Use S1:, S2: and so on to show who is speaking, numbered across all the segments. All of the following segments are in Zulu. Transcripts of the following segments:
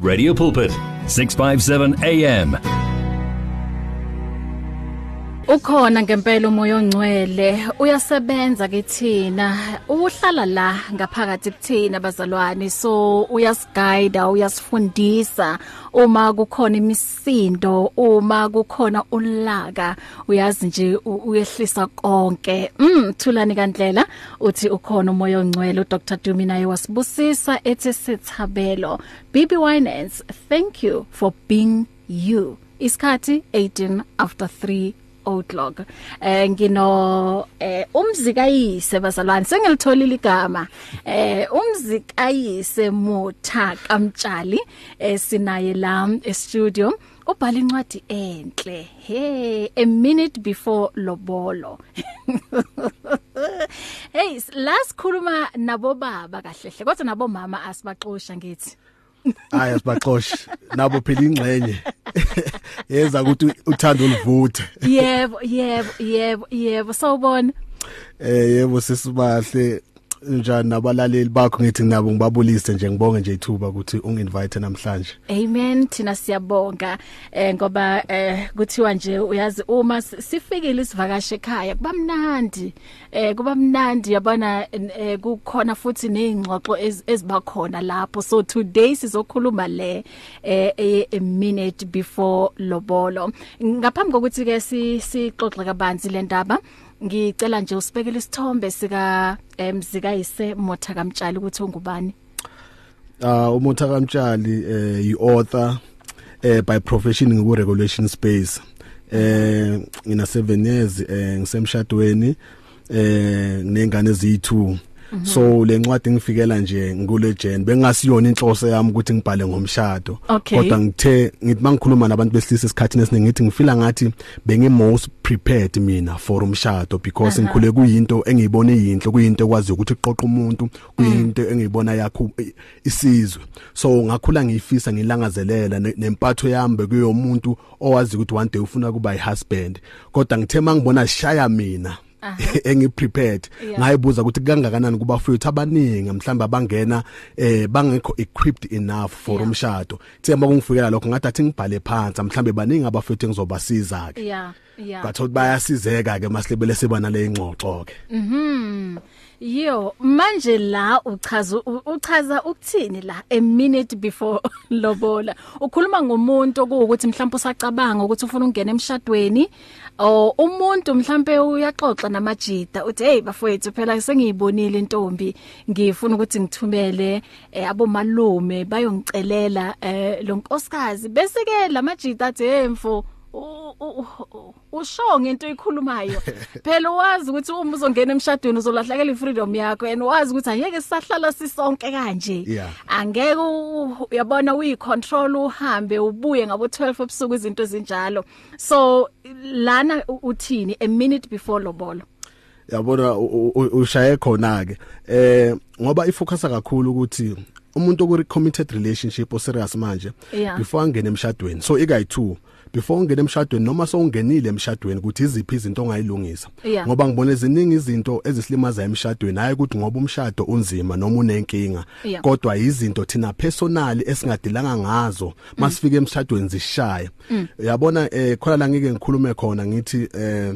S1: Radio Pulpit, 657 AM.
S2: Ukhona ngempela umoya ongcwele uyasebenza kithina uhlala la ngaphakathi kuthina bazalwane so uyasguide uyasifundisa uma kukhona imisindo uma kukhona ulaka uyazi nje u- uyehlisa konke mm thulani kandlela uthi ukhona umoya ongcwele uDr Dumi naye wasibusisa ethi sithabelo BB Winans thank you for being you isikhathi 18 after 3 Outlook. Eh ngino eh umzikayise bazalwane sengilitholile igama. Eh umzikayise Mutha Kamtshali eh sinaye la e-studio. Ubhala incwadi enhle. Hey, a minute before lobolo. hey, last khuluma nabo baba kahlehle kodwa nabo mama asibaxosha ngithi.
S3: hayi asibaxoshe nabo phela ingxenye yeza ukuthi uthanda ulivuthe
S2: Yebo, yebo, yebo, yebo. Sawubona.
S3: eh yebo sisibahle njani nabalaleli bakho ngithi nabo ngibabulise nje ngibonge nje ithuba ukuthi unginvite namhlanje
S2: Amen thina siyabonga eh ngoba eh kuthiwa nje uyazi uma si- sifikile isivakashi ekhaya kuba mnandi eh kuba mnandi yabona n- eh, kukhona futhi nezingxoxo ez- eziba khona lapho so today sizokhuluma le eh a- a minute before lobolo ngaphambi kokuthi ke si- sixoxe kabanzi le ndaba ngicela nje usibekele isithombe sika emzika yise Motha Kamtshali ukuthi ungubani
S3: ah umuntu akamtshali eh yi author eh by profession ngiku regulation space eh ngina 7 years eh ngisemshadweni eh nengane eziyi2 so lencwadi ngifikela nje ngulegend bengasiyona inhloso yami ukuthi ngibhale ngomshado
S2: Okay.
S3: kodwa ngithe ngithi mangikhuluma nabantu besilisa esikhathini esiningi ngithi ngifila ngathi bengi most prepared mina for umshado because
S2: Aha.
S3: ngikhule kuyinto engiyibona iyinhle kuyinto ekwazi ukuthi iqoqa umuntu
S2: Mm.
S3: kuyinto engiyibona yakho i- isizwe so ngakhula ngiyifisa ngilangazelela ne- nempatho yami bekuyomuntu owazi ukuthi one day ufuna kuba ihusband kodwa ngithe mangibona shaya mina engi prepared
S2: Yeah.
S3: ngayibuza ukuthi kangakanani kuba futhi abaningi mhlamba bangena eh bangekho equipped enough for
S2: Yeah.
S3: umshado themba kungifikela lokho ngathi athi ngibhale phansi mhlambe baningi abafethu engizobasiza ke
S2: yeah yeah
S3: bathola bayasizeka ke masilebele sebana leingxoxo ke
S2: Mhm. Yo, manje la uchaza u- uchaza ukuthini la a minute before lobola. Ukhuluma ngomuntu ukuthi mhlawumbe usacabanga ukuthi ufuna ukungena emshadweni. Oh, umuntu mhlawumbe uyaxoxa namajida uthi hey bafowethu phela sengiyibonile intombi ngifuna ukuthi ngithumele eh, abomalume bayongicelela eh, lo nkosikazi bese ke lamajida athi hey mfo u- u- u- usho ngento oyikhulumayo phela wazi ukuthi uma uzongena emshadweni uzolahlekela ifreedom yakho and wazi ukuthi angeke sisahlala sisonke kanje
S3: Yeah.
S2: angeke u- uyabona uyicontrol uhambe ubuye ngabo 12 ebusuku izinto ezinjalo so lana u- uthini a minute before lobolo
S3: yabona u- u- u- ushaye khona ke eh ngoba ifocusa kakhulu ukuthi umuntu oku committed relationship o serious manje
S2: Yeah.
S3: before angene emshadweni so ikay 2 before ungena emshadweni noma sowungenile emshadweni ukuthi iziphi izinto ongayilungisa
S2: Yeah.
S3: ngoba ngibona ziningi izinto ezisilimaza emshadweni hayi ukuthi ngoba umshado unzima noma unenkinga
S2: Yeah.
S3: kodwa izinto thina personally esingadilanga ngazo masifika emshadweni zishaye
S2: Mm.
S3: uyabona eh khona la ngike ngikhulume khona ngithi eh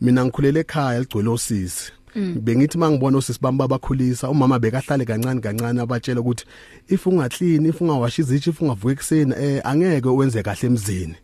S3: mina ngikhulele ekhaya ligcwele osisi
S2: Mm.
S3: bengithi mangibona osisi bami babakhulisa umama bekahlale kancane kancane abatshela ukuthi if ungaklini if ungawashi izitshi if ungavuka ekseni eh angeke uwenze kahle emzini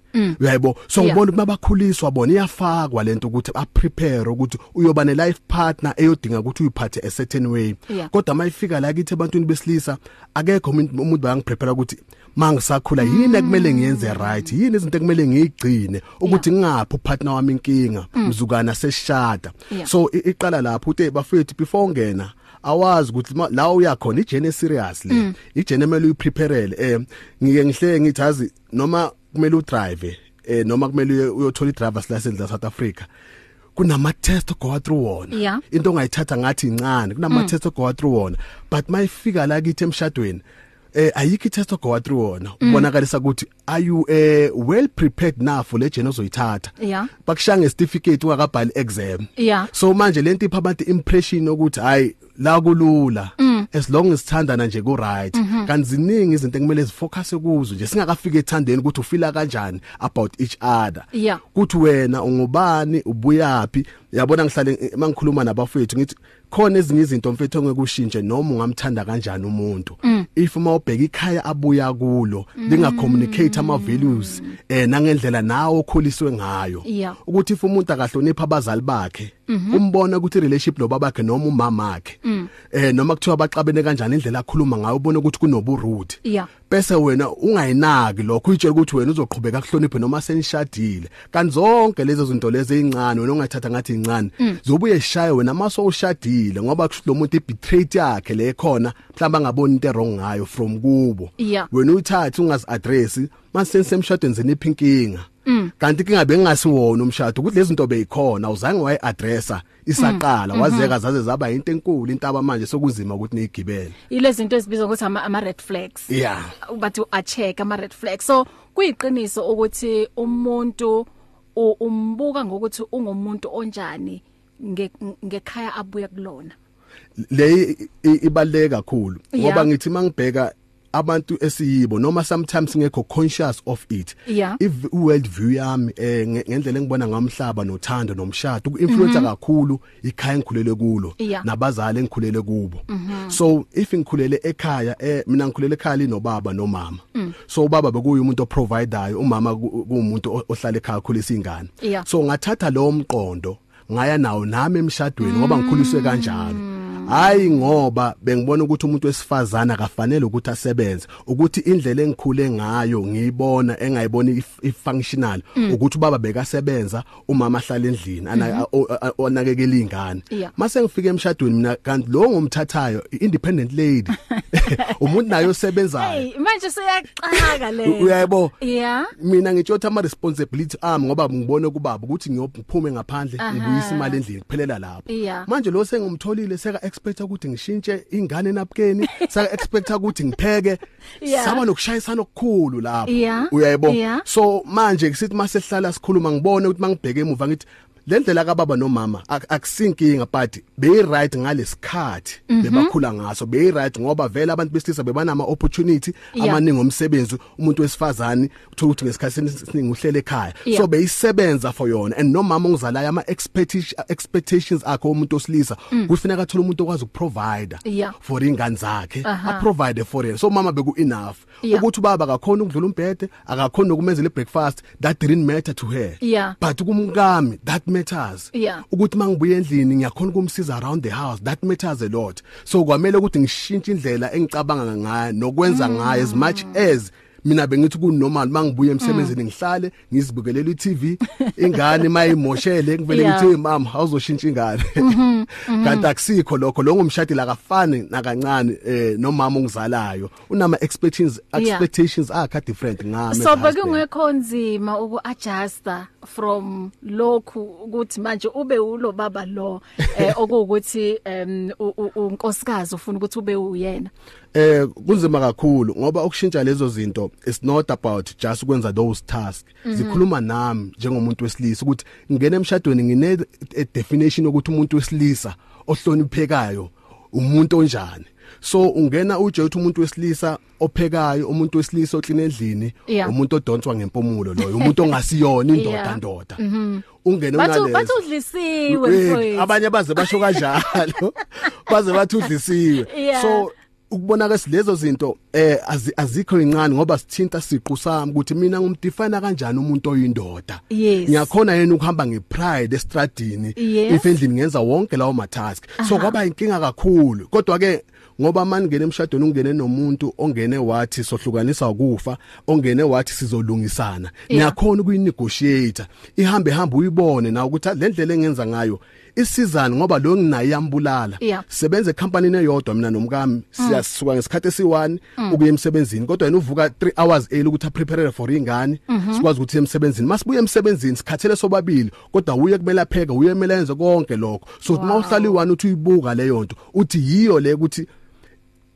S3: uyayibo so
S2: Mm. Yeah.
S3: ngibona ukuthi babakhuliswa bona iyafakwa lento ukuthi a prepare ukuthi uyoba ne life partner eyodinga ukuthi uyiphathe a certain way
S2: Yeah.
S3: kodwa mayifika la kithi ebantwini besilisa akekho umuntu umuntu bayangiprepare ukuthi mangisakhula yini ekumele ngiyenze right yini izinto ekumele ngiyigcine ukuthi ngingaphi upartner wami inkinga mzukana seshada
S2: Yeah.
S3: so i- iqala lapho uthe bafethu before ungena awazi ukuthi ma- la uyakhona ijene serious le ijene mele uyipreparele eh ngike ngihle ngithi hazi noma kumele udrive eh noma kumele uye- uyothola idriver's license la South Africa kunama test go through wona
S2: Yeah. Mm.
S3: into ongayithatha ngathi incane kunama test go through wona but mayifika la kithi emshadweni eh ayikho test go through wona
S2: Mm.
S3: ubonakalisa ukuthi are you eh well prepared now for le journey ozoyithatha
S2: Yeah.
S3: bakushaya ngesitificate ungakabhali exam
S2: Yeah. Mm.
S3: so manje lento ipha abantu impression ukuthi hayi la kulula as long as sithandana nje ku right
S2: Mm-hmm.
S3: kanziningi izinto ekumele sifocus kuzo nje singakafika ethandeni ukuthi ufila kanjani about each other
S2: Yeah.
S3: kuthi wena ungubani ubuyaphi yabona ngihlale mangikhuluma nabafethu ngithi khona ezinye izinto mfethu ongeke ushintshe noma ungamthanda kanjani umuntu
S2: Mm.
S3: if uma ubheka ikhaya abuya kulo linga communicate ama values eh nangendlela nawo okhuliswe ngayo
S2: Yeah.
S3: ukuthi if umuntu akahlonipha abazali bakhe umbona ukuthi relationship lo babakhe noma umama wakhe eh noma kuthiwa baxabene kanjani indlela akhuluma ngayo ubone ukuthi kunoburude
S2: Yeah.
S3: bese wena ungayinaki lokho utshela ukuthi wena uzoqhubeka akuhloniphe noma senishadile kanti zonke lezo zinto lezi ezincane wena ongayithatha ngathi incane zobuye eshaye wena maso ushadile ngoba kusho ukuthi lo muntu ibetrayed yakhe le khona mhlawumbe angaboni into errong ngayo from kubo
S2: Yeah.
S3: wena uyithathe ungazi address mase semshadweni zeniphi inkinga
S2: Mm.
S3: kanti inkinga bengasiwona umshado ukuthi lezi zinto beyikhona awuzange wayi addressa isaqala
S2: Mm. Mm-hmm.
S3: wazeka zaze zaba into enkulu intaba manje sokunzima ukuthi niyigibele
S2: Ilezi zinto ezibizwa ukuthi ama ama red flags.
S3: yeah
S2: bathi uacheck ama red flags so kuyiqiniso ukuthi umuntu u- umbuka ngokuthi ungumuntu onjani nge- ngekhaya abuya kulona
S3: le ibaleke kakhulu
S2: Yeah.
S3: ngoba ngithi mangibheka abantu esiyibo noma sometimes ngekho conscious of it
S2: Yeah.
S3: if world view yami eh, nge- ngendlela engibona ngamhlaba nothando nomshado kuinfluence kakhulu ikhaya engikhulele kulo
S2: Mm-hmm. Yeah.
S3: nabazali engikhulele
S2: Mhm.
S3: kubo so if ngikhulele ekhaya eh, mina ngikhulele ekhaya linobaba nomama
S2: Mm.
S3: so ubaba bekuyumuntu oprovidayo umama ku- kuwumuntu o- ohlala ekhaya khulisa izingane
S2: Yeah.
S3: so ngathatha lo mqondo ngaya nawo nami emshadweni ngoba
S2: Mm.
S3: ngikhuliswe kanjalo hayi ngoba bengibona ukuthi umuntu wesifazana akafanele ukuthi asebenze ukuthi indlela engikhule ngayo ngiyibona engayiboni if- ifunctional
S2: Mm.
S3: ukuthi ubaba bekasebenza umama ahlala endlini ana- o- o- onakekela ingane
S2: Mhm. Yeah.
S3: mase ngifika emshadweni mina kanti lo ngomthathayo independent lady umuntu naye osebenzayo
S2: hey manje siyaqhaka le
S3: uyayibo
S2: yeah
S3: mina ngitshotha ama responsibility ami ngoba ngibone kubaba ukuthi ngiyophume ngaphandle
S2: Aha.
S3: ngibuyisa imali endlini kuphelela lapho
S2: Yeah.
S3: manje lo sengimtholile seka expect ukuthi ngishintshe ingane napukeni saka expect ukuthi ngipheke
S2: Yeah.
S3: saba nokushayisana okukhulu lapho
S2: Yeah.
S3: uyayibo
S2: Yeah.
S3: so manje sithi mase sihlala sikhuluma ngibone ukuthi mangibheke emuva ngithi le ndlela kababa nomama ak- akusinkinga but beyi-right ngalesikhathi bebakhula ngaso beyi-right ngoba vele abantu besilisa bebanama-opportunity
S2: Yeah.
S3: amaningi omsebenzi umuntu wesifazane uthola ukuthi ngesikhathi esiningi uhlele ekhaya
S2: Yeah.
S3: so beyisebenza for yona and nomama ongizalayo ama-expectations akhe womuntu osilisa kufuneka athole umuntu okwazi ukuprovider
S2: Mm. Yeah.
S3: for iy'ngane zakhe
S2: Aha.
S3: aprovide for yena so mama beku-enough
S2: Yeah.
S3: ukuthi ubaba akakhona ukudlula umbhede akakhona ukumenzela i-breakfast that didn't matter to her
S2: Yeah.
S3: but kumkami that matters
S2: Yeah.
S3: ukuthi mangibuya endlini ngiyakhona ukumsiza around the house that matters a lot so kwamele ukuthi ngishintshe indlela engicabanga ngayo nokwenza
S2: Mm.
S3: ngayo as much as mina bengithi kunormal mangibuya emsebenzini
S2: Mm.
S3: ngihlale ngizibukelela iTV ingane mayimoshele ngivele
S2: Yeah. Mm-hmm,
S3: ngithi hey mama awuzoshintsha ingane kanti akusikho lokho lo ngumshadile akafani nakancane eh nomama ongizalayo unama expectations
S2: Yeah.
S3: expectations akhe a different ngami
S2: so
S3: as husband.
S2: bekungekho nzima ukuadjusta from lokhu ukuthi manje ube ulo baba lo eh, okuwukuthi em, u- u- unkosikazi ufuna ukuthi ube uyena
S3: eh kunzima kakhulu ngoba ukushintsha lezo zinto it's not about just ukwenza those tasks
S2: Mhm.
S3: zikhuluma nami njengomuntu wesilisa ukuthi ngene emshadweni ngine a definition ukuthi umuntu wesilisa ohloniphekayo umuntu onjani so ungena uje uthi umuntu wesilisa ophekayo umuntu wesilisa oklina endlini
S2: Yeah.
S3: umuntu odonswa ngempumulo loyo umuntu ongasiyona indoda
S2: Yeah. Mhm.
S3: ndoda ungene
S2: bathu
S3: unalezo
S2: bathu udlisiwe
S3: Eh,
S2: mfowethu
S3: abanye baze basho kanjalo baze bathi udlisiwe
S2: Yeah.
S3: so ukubonaka silezo zinto eh azi- azikho incane ngoba sithinta siqu sami ukuthi mina ngumdefine kanjani umuntu oyindoda
S2: Yes.
S3: ngiyakhona yena ukuhamba ngepride estradini
S2: Yes.
S3: if endlini ngenza wonke lawo matask so kwaba inkinga kakhulu kodwa ke ngoba maningena emshadweni ungene nomuntu ongene wathi sohlukanisa ukufa ongene wathi sizolungisana
S2: Yeah.
S3: ngiyakhona ukuyinegotiate ihambe hamba uyibone na ukuthi ah, le ndlela engenza ngayo isizani ngoba lo nginayo iyambulala
S2: Yeah. Mm.
S3: sebenza ekhampanini eyodwa mina nomkami siyasuka ngesikhathi esi1 ukuya emsebenzini kodwa yena uvuka 3 hours early ukuthi aprepare for ingane
S2: Mhm.
S3: sikwazi ukuthi siye emsebenzini masibuye emsebenzini sikhathele sobabili kodwa uye kumele apheke uye kumele enze konke lokho so
S2: Wow.
S3: uma uhlali 1 uthi uyibuka leyo nto uthi yiyo le ukuthi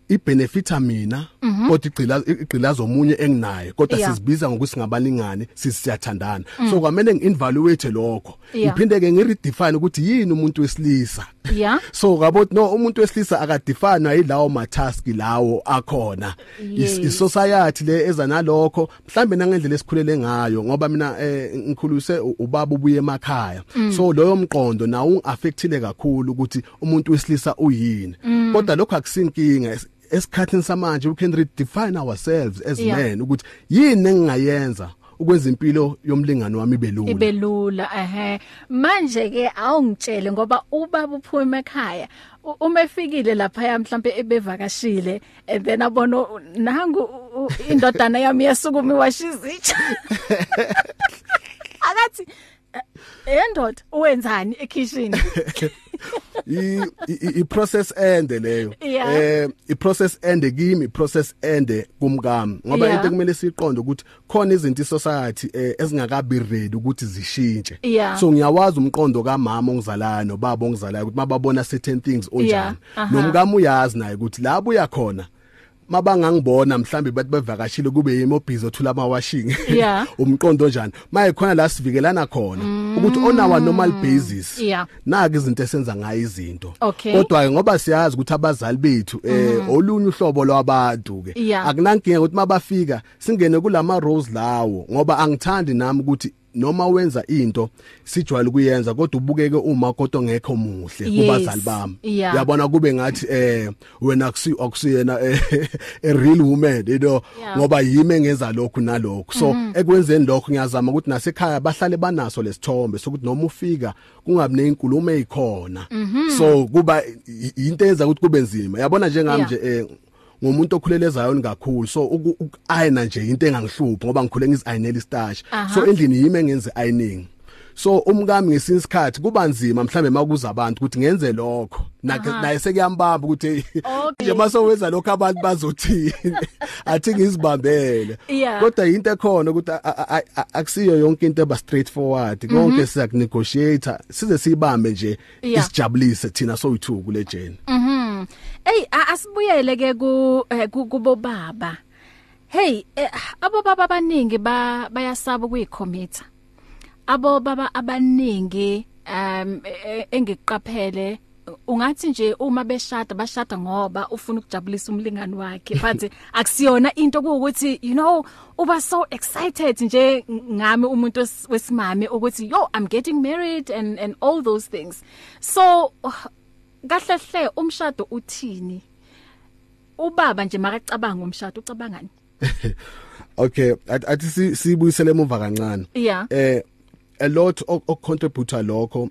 S3: ibenefita mina kodwa igcila igcila zomunye enginaye kodwa
S2: Mhm. Yeah. Mm.
S3: sizibiza ngokuthi singabalingani sisiyathandana so kwamele ngi-evaluate lokho
S2: Yeah.
S3: ngiphinde ke ngiredefine ukuthi yini umuntu wesilisa
S2: Yeah.
S3: so ngabo no umuntu wesilisa akadefine ayilawo matask lawo akhona
S2: Yes.
S3: Is- isociety le eza nalokho mhlambe nangendlela esikhulele ngayo ngoba mina eh, ngikhuluse u- ubaba ubuye emakhaya
S2: Mm.
S3: so loyo mqondo nawo ungaffectile kakhulu ukuthi umuntu wesilisa uyini
S2: Mm.
S3: kodwa lokho akusinkinga Es- esikhathini samanje we can redefine ourselves as
S2: Yeah.
S3: men ukuthi yini engingayenza ukwenza impilo yomlingani wami ibelula
S2: ibelula ehe manje ke awungitshele ngoba ubaba uphuma ekhaya u- uma efikile lapha mhlambe ebevakashile and then abona u- nangu u- u- indodana yami yasukumi washizitsha akathi endoda wenzani ekitchen
S3: i i- i process ende leyo Eh,
S2: Yeah.
S3: i process ende kimi i process ende kumkami ngoba
S2: Yeah.
S3: into kumele siqonde ukuthi khona izinto i society eh, ezingakabi ready ukuthi zishintshe
S2: Yeah.
S3: so ngiyawazi umqondo kamama ongizalayo nobaba ongizalayo ukuthi mababona certain things
S2: Yeah,
S3: onjani
S2: aha.
S3: nomkami uyazi naye ukuthi la buya khona mabangangibona mhlambe bathi bevakashile kube yimi obhizi othula ama-washing
S2: Yeah.
S3: umqondo onjani maye khona la sivikelana khona ukuthi on our normal basis
S2: Mm. Yeah.
S3: naka izinto esenza ngayo izinto
S2: Okay. Mm.
S3: kodwa ke ngoba siyazi ukuthi abazali bethu eh olunye uhlobo lwabantu ke
S2: Yeah.
S3: akunankinga ukuthi mabafika singene kulama roles lawo ngoba angithandi nami ukuthi noma wenza into sijwayele ukuyenza kodwa ubukeke uma kodwa ngekho muhle
S2: Yes.
S3: kubazali bami
S2: Yeah.
S3: yabona kube ngathi eh wena akusi akusiyena eh, a real woman you know
S2: Yeah.
S3: ngoba yimi engenza lokhu nalokhu so ekwenzeni lokho ngiyazama ukuthi nasekhaya bahlale banaso lesithombe sokuthi noma ufika kungabi neyinkulumo ezikhona so kuba i- into eyenza ukuthi kube nzima yabona njengami
S2: Yeah.
S3: nje eh, ngomuntu okhulele ezayoni kakhulu so uku- uku-ayina nje into engangihluphi ngoba ngikhule ngizi-ayinela istashi
S2: Aha.
S3: so endlini yimi engenzi i-ayining so umkami ngesinye isikhathi kuba nzima mhlawumbe makuza abantu ukuthi ngenze lokho
S2: Aha.
S3: Na- naye sekuyambamba ukuthi hey,
S2: Okay.
S3: nje masowenza lokho abantu bazothini athi ngizibambele
S2: Yeah.
S3: kodwa into ekhona ukuthi a- a- a- a- akusiyo yonke into eba straightforward konke siya kunegotiator size siyibambe nje
S2: Mhm. Yeah.
S3: isijabulise thina soyithuku lejeni
S2: Mhm. Ey a- asibuyele ke ku eh, ku- kubo baba. Hey eh, abo baba abaningi ba bayasaba ukuyikhomitha. Abo baba abaningi um engiqaphele ungathi nje uma beshada bashada ngoba ufuna ukujabulisa umlingani wakhe but akusiyona into kuukuthi you know uba so excited nje ngami umuntu wes- wesimame ukuthi yo I'm getting married and and all those things so uh, kahle hle umshado uthini ubaba nje makacabanga umshado ucabangani
S3: okay athi athi si- siyibuyisele emuva kancane
S2: Yeah.
S3: eh a lot okucontributor lokho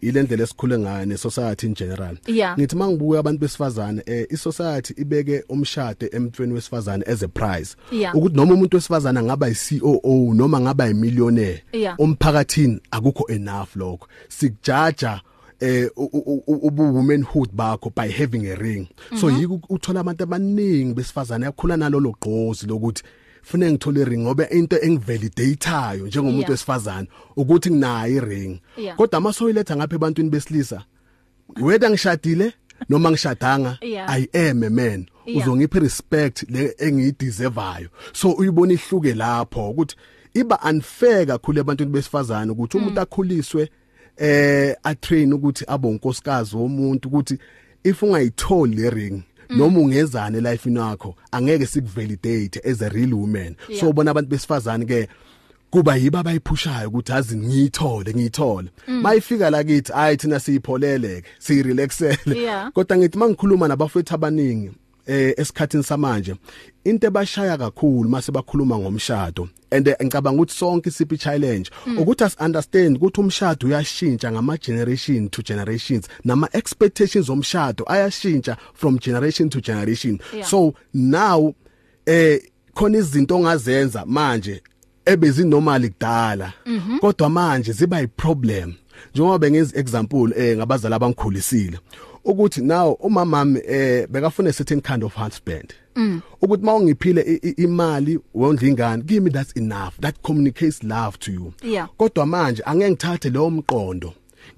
S3: ilendlela esikhule ngayo ne society in general
S2: Yeah.
S3: ngithi mangibuya abantu besifazane eh i society ibeke umshado emthweni wesifazane as a prize
S2: Yeah.
S3: ukuthi noma umuntu wesifazane angaba yi COO noma angaba yi millionaire
S2: Yeah.
S3: umphakathini akukho enough lokho sikujaja eh u- u- u- ubu womanhood bakho by having a ring so
S2: Mhm.
S3: yiku uthola abantu abaningi besifazane yakhula nalolo gqozi lokuthi fune ngithole ring ngoba into engivalidateayo njengomuntu
S2: Yeah.
S3: wesifazane ukuthi nginayo iring
S2: Yeah.
S3: kodwa ama soyiletha ngapha ebantwini besilisa whether ngishadile noma ngishadanga
S2: Yeah.
S3: i am a man
S2: Yeah.
S3: uzongipha irespect le engiyideservayo so uyibona ihluke lapho ukuthi iba unfair kakhulu ebantwini besifazana ukuthi
S2: Mm.
S3: umuntu akhuliswe eh atrain ukuthi abe unkosikazi womuntu ukuthi if ungayitholi le ring
S2: Mm.
S3: noma ungezane life yakho angeke sikuvalidate as a real woman
S2: Yeah.
S3: so ubona abantu besifazana ke kuba yibo abayiphushayo ukuthi azi ngiyithole ngiyithole
S2: Mm.
S3: mayifika la kithi ayi thina siyipholeleke siyirelaxele
S2: Yeah.
S3: kodwa ngithi mangikhuluma nabafethu abaningi eh esikhathini samanje into ebashaya kakhulu mase bakhuluma ngomshado and eh, ngicabanga ukuthi sonke isiphi challenge ukuthi as understand ukuthi umshado uyashintsha ngama generation to generations nama expectations omshado ayashintsha from generation to generation
S2: Yeah.
S3: so now eh khona izinto ongazenza manje ebezinormal kudala kodwa manje ziba yiproblem njengoba bengiz example eh ngabazali abangikhulisile ukuthi now umamami eh bekafuna a certain kind of husband ukuthi mawungiphile i- i- imali wondla ingane give me that's enough that communicates love to you
S2: Yeah.
S3: kodwa manje angeke ngithathe lowo mqondo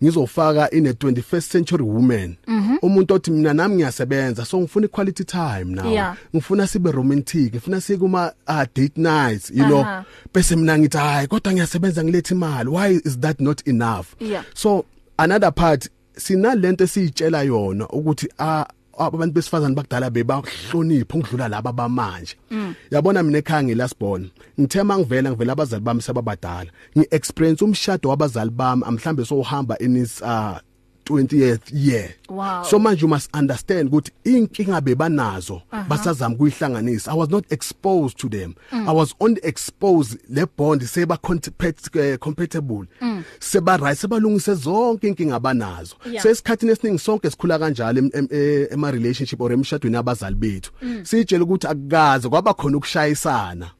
S3: ngizofaka ine 21st century woman umuntu othi mina nami ngiyasebenza so ngifuna quality time
S2: Yeah.
S3: now ngifuna sibe romantic ngifuna siye kuma ah, date nights you know
S2: Aha.
S3: bese mina ngithi hayi kodwa ngiyasebenza ngilethe imali why is that not enough
S2: Yeah.
S3: so another part sinalento esiyitshela yona ukuthi a abantu besifazane bakudala bebahlonipha ukudlula laba bamanje
S2: Mm.
S3: yabona mina ekhaya ngilasibona ngithema ngivela ngivela abazali bami sababadala ngiexperience umshado wabazali bami amhlambe sohamba inis uh 20th year
S2: Wow.
S3: so manje you must understand ukuthi inkinga bebanazo basazama kuyihlanganisa i was not exposed to them
S2: Mm.
S3: i was only exposed le bond seba compet- eh, compatible seba right sebalungise zonke inkinga abanazo
S2: Mm. Yeah.
S3: sesikhathini esiningi sonke sikhula kanjalo em- em- eh, ema relationship or emshadweni abazali bethu
S2: Mm.
S3: sitshela ukuthi akukaze kwaba khona ukushayisana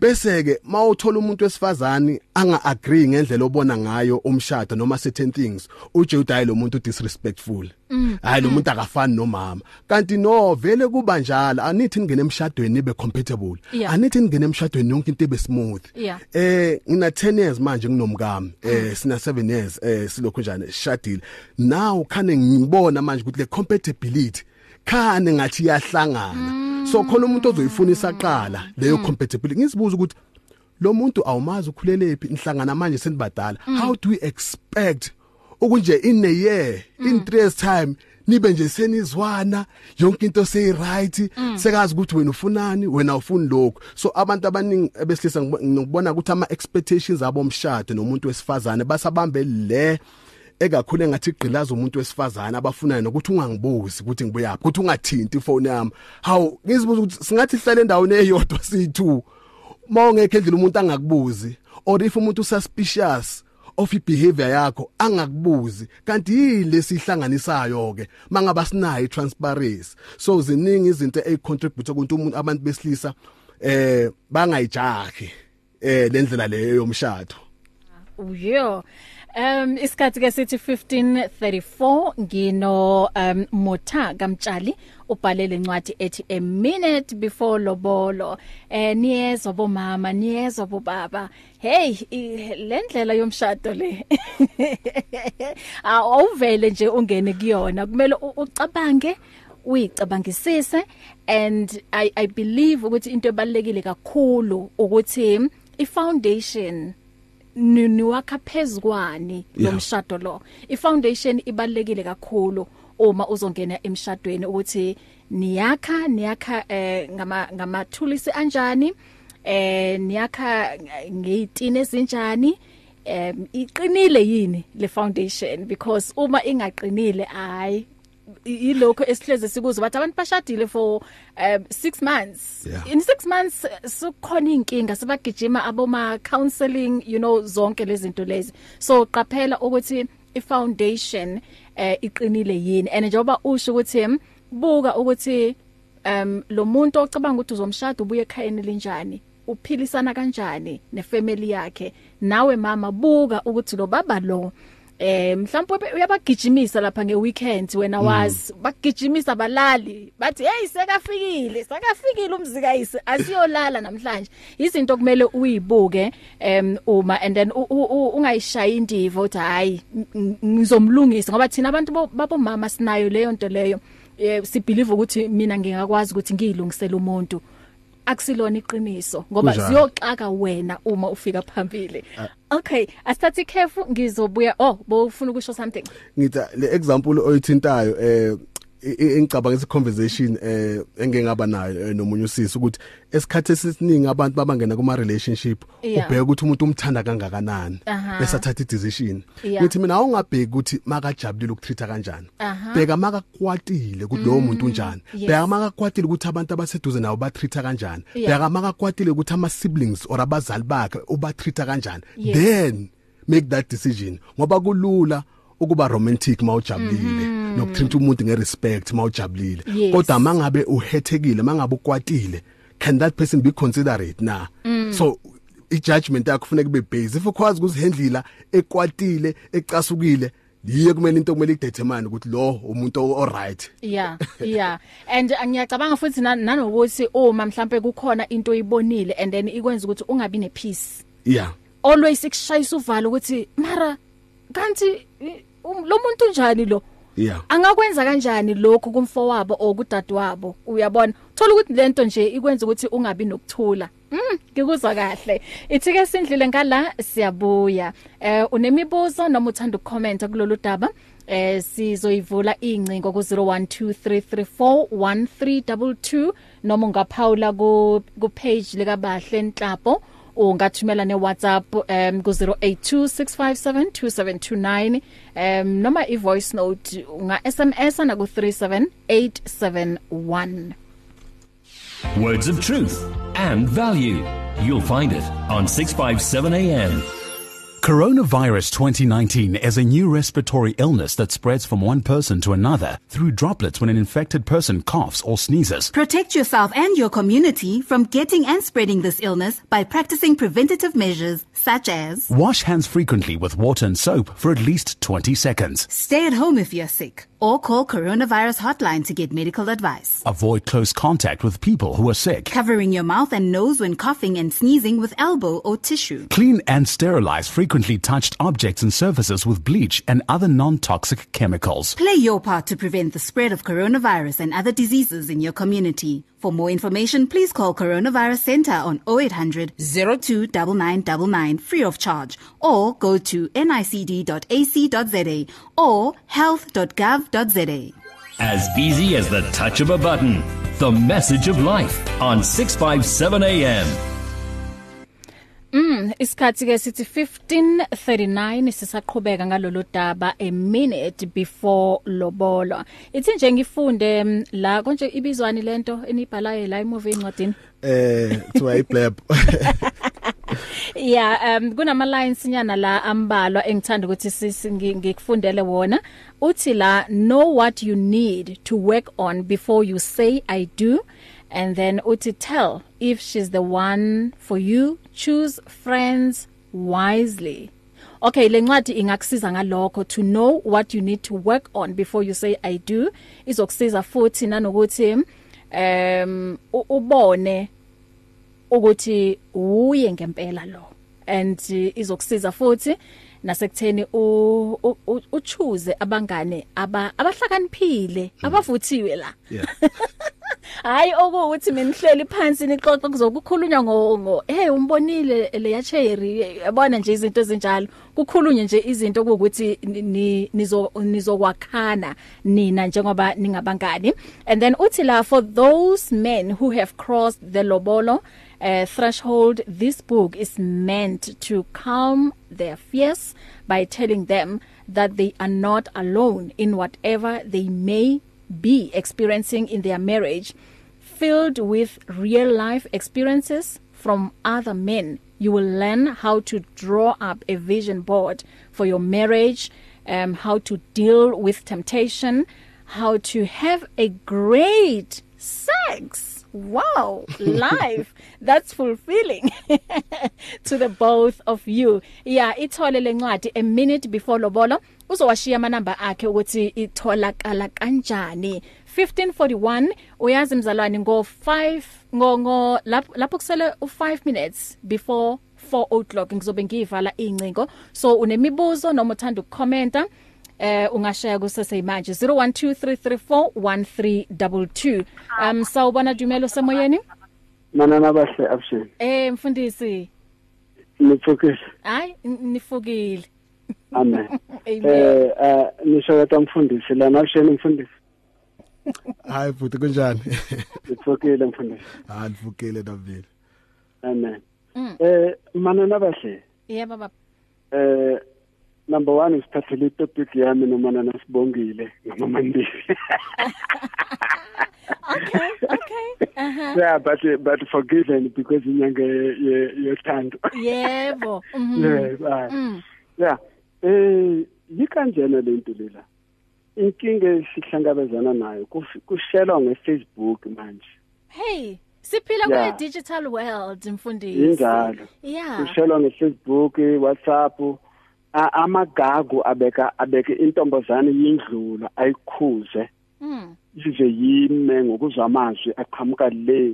S3: bese ke mawuthola umuntu wesifazane anga agree ngendlela obona ngayo umshado noma certain things uje udayi lo muntu disrespectful hayi lo muntu akafani nomama kanti no vele kuba njalo anithi ningene emshadweni nibe compatible
S2: Yeah.
S3: anithi ningene emshadweni yonke into ibe smooth
S2: Yeah.
S3: eh ngina 10 years manje nginomkami eh sina 7 years eh silokhu njani shadile now khane ngibona manje ukuthi le compatibility khane ngathi iyahlangana so khona umuntu ozoyifunisa qala leyo compatibility ngizibuza ukuthi lo muntu awumazi ukhulelephi inhlangana manje senibadala how do we expect ukunje in a year in 3 years time nibe nje senizwana yonke into sey right sekazi ukuthi wena ufunani wena ufuni lokho so abantu abaningi abesilisa ngibo- ngibona ukuthi ama expectations abo umshado nomuntu wesifazane basabambe le ekakhulu engathi igqilaza umuntu wesifazane abafunayo nokuthi ungangibuzi ukuthi ngibuyaphi ukuthi ungathinti ifoni yami how ngizibuza ukuthi singathi sihlale endaweni eyodwa siyi2 mawungekho endlini umuntu angakubuzi or if umuntu suspicious of ibehavior yakho angakubuzi kanti yini lesihlanganisayo ke mangaba sinayo transparency so ziningi izinto ezicontribute ukuthi umuntu abantu besilisa eh bangayijahi eh lendlela leyo yomshado
S2: Yo. Um isikhathi ke sithi 1534 ngino um Motha Kamtshali ubhalele incwadi ethi a minute before lobolo eh niyezwa bomama niyezwa bobaba hey i- lendlela yomshado le Ah, awuvele nje ungene kuyona kumele u- ucabange uyicabangisise and i i believe ukuthi into ebalekile kakhulu ukuthi i foundation ni- niwakha phezukwane
S3: Yeah.
S2: lomshado lo ifoundation ibalekile kakhulu uma uzongena emshadweni ukuthi niyakha niyakha eh, ngama ngama tools anjani eh niyakha ngeyitini ezinjani em iqinile yini le foundation because uma ingaqinile hayi i- yilokho esihleze sikuzo bathi abantu bashadile for um 6 months
S3: Yeah.
S2: in 6 months eh, sekukhona inkinga sebagijima aboma counseling you know zonke lezinto lezi so qaphela ukuthi i foundation eh iqinile yini and njengoba usho ukuthi buka ukuthi um lo muntu ocabanga ukuthi uzomshado ubuye ekhayeni linjani uphilisana kanjani nefamily yakhe nawe mama buka ukuthi lo baba lo eh mhlawumbe uyabagijimisa lapha ngeweekend wena wazi bagijimisa balali bathi hey sekafikile sekafikile umzikayisi asiyolala namhlanje izinto kumele uyibuke em uma and then u- u- u- ungayishayi indivo uthi hayi ng- ng- ngizomlungisa ngoba thina abantu bo- babomama sinayo leyo nto leyo Eh, sibelieve ukuthi mina ngingakwazi ukuthi ngiyilungisele umuntu akusilona iqiniso ngoba
S3: Kunjalo.
S2: siyo xaka wena uma ufika phambili okay asithathe ikhefu ngizobuya oh bowufuna ukusho something
S3: ngithi le example oyithintayo eh i- i- ngicabanga isi conversation eh engengaba nayo eh, nomunye usisi ukuthi esikhathi esiningi abantu babangena kuma relationship
S2: Yeah.
S3: ubheka ukuthi umuntu umthanda kangakanani
S2: Aha.
S3: bese athatha i decision
S2: Yeah.
S3: ngithi mina awungabheki ukuthi makajabulile ukutreata kanjani
S2: Aha. Mm,
S3: bheka makakwatile ukuthi lowo muntu unjani
S2: yes.
S3: bheka makakwatile ukuthi abantu abaseduze nawo batreata kanjani
S2: Yeah.
S3: bheka makakwatile ukuthi ama siblings or abazali bakhe ubatreata kanjani
S2: Yes.
S3: then make that decision ngoba kulula ukuba romantic mawujabulile
S2: Mm.
S3: nokuthinta umuntu ngerespect mawujabulile
S2: Yes.
S3: kodwa mangabe uhethekile mangabe ukwatile can that person be considerate na so ijudgment yakho kufanele kube based if ukwazi ukuzihandlela ekwatile ecasukile yiye kumele into kumele idetermine ukuthi lo umuntu alright
S2: yeah yeah and uh, ngiyacabanga futhi na- nanokuthi uma mhlambe kukhona into oyibonile and then ikwenza ukuthi ungabi nepeace
S3: yeah
S2: always ikushayisa uvalo ukuthi mara kanti i- um, lo muntu unjani lo
S3: yeah
S2: angakwenza kanjani lokhu kumfo wabo okudadewabo uyabona thola ukuthi lento nje ikwenza ukuthi ungabi nokthula Mm, ngikuzwa kahle. Ithike sindlile ngala siyabuya. Eh unemibuzo noma uthanda ukucomment kulolu daba? Eh sizoyivula incingo ku 0123341322 noma ungaphawula ku ku page lika Bahle Nhlapo. ungathumela neWhatsApp um ku 0826572729 um noma ivoice note unga SMS na ku 37871
S1: Words of truth and value. You'll find it on 657 AM.
S4: Coronavirus 2019 is a new respiratory illness that spreads from one person to another through droplets when an infected person coughs or sneezes.
S5: Protect yourself and your community from getting and spreading this illness by practicing preventative measures such as
S4: Wash hands frequently with water and soap for at least 20 seconds.
S5: stay at home if you're sick or call coronavirus hotline to get medical advice.
S4: Avoid close contact with people who are sick.
S5: Covering your mouth and nose when coughing and sneezing with elbow or tissue.
S4: Clean and sterilize frequently touched objects and surfaces with bleach and other non-toxic chemicals.
S5: Play your part to prevent the spread of coronavirus and other diseases in your community. For more information, please call Coronavirus Center on 0800 029999 free of charge or go to nicd.ac.za or health.gov.za.
S1: As easy as the touch of a button. The message of life on 657 AM.
S2: Isikhathi ke sithi 15:39 sisaqhubeka ngalolu daba a minute before lobola. Ithi nje ngifunde mm, la konje ibizwani lento enibhalaye la imovie incwadini.
S3: eh kuthiwa iblab
S2: Yeah, um kunama lines nyana la ambalwa engithanda ukuthi sisi ngi- ngikufundele wona. Uthi la know what you need to work on before you say I do and then uthi tell if she's the one for you. Choose friends wisely. Okay lencwadi ingakusiza ngalokho to know what you need to work on before you say I do izokusiza futhi nanokuthi um u- ubone ukuthi uye ngempela lo and eh, izokusiza futhi nasekutheni u- u- u- uchoose abangane aba abahlakaniphile abavuthiwe la
S3: yeah
S2: hayi okuthi mina nihleli phansi nixoxe kuzokukhulunywa ngo ngo, hey umbonile leya cherry yabona nje izinto ezinjalo kukhulunywe nje izinto ukuthi ni- ni- nizo nizokwakhana nina njengoba ningabangani and then uthi la for those men who have crossed the lobolo uh, threshold this book is meant to calm their fears by telling them that they are not alone in whatever they may be experiencing in their marriage filled with real life experiences from other men you will learn how to draw up a vision board for your marriage um how to deal with temptation how to have a great sex wow life that's fulfilling to the both of you yeah ithole lencwadi a minute before lobolo uzowashiya amanamba akhe ukuthi itholakala kanjani 1541 uyazi mzalwane ngo 5 ngo ngo lap- lapho kusele u5 minutes before 4 o'clock ngizobe ngiyivala incingo so unemibuzo noma uthanda ukukomenta eh ungashaya kuseseyimanje 0123341322 um sawubona Dumelo semoyeni
S6: manana bahle absheni
S2: eh mfundisi
S6: nitsukile
S2: hayi n- nifukile
S6: amen
S2: amen
S6: eh eh, nisho kata mfundisi lana absheni mfundisi
S3: hayi futhi kunjani
S6: nitsukile mfundisi
S3: hayi vukile davile
S6: amen eh manana bahle
S2: yebo baba
S6: eh number 1 isithathele itopic yami nomanana sibongile ngamamandile
S2: okay okay aha
S6: yeah but but forgiven because inyanga ye- ye- yothando
S2: yebo mhm
S6: yes ah
S2: Mm.
S6: yeah eh yikanjena lento lela inkinga sihlangabezana nayo kufi- kushelwa ngeFacebook manje
S2: hey siphila
S6: Yeah.
S2: kwe digital world mfundisi
S6: Injalo.
S2: yeah
S6: kushelwa ngefacebook whatsapp a- amagagu abeka abeke intombazane yindlula ayikhuze
S2: mm
S6: lize yime ngokuzwa amazwi aqhamuka le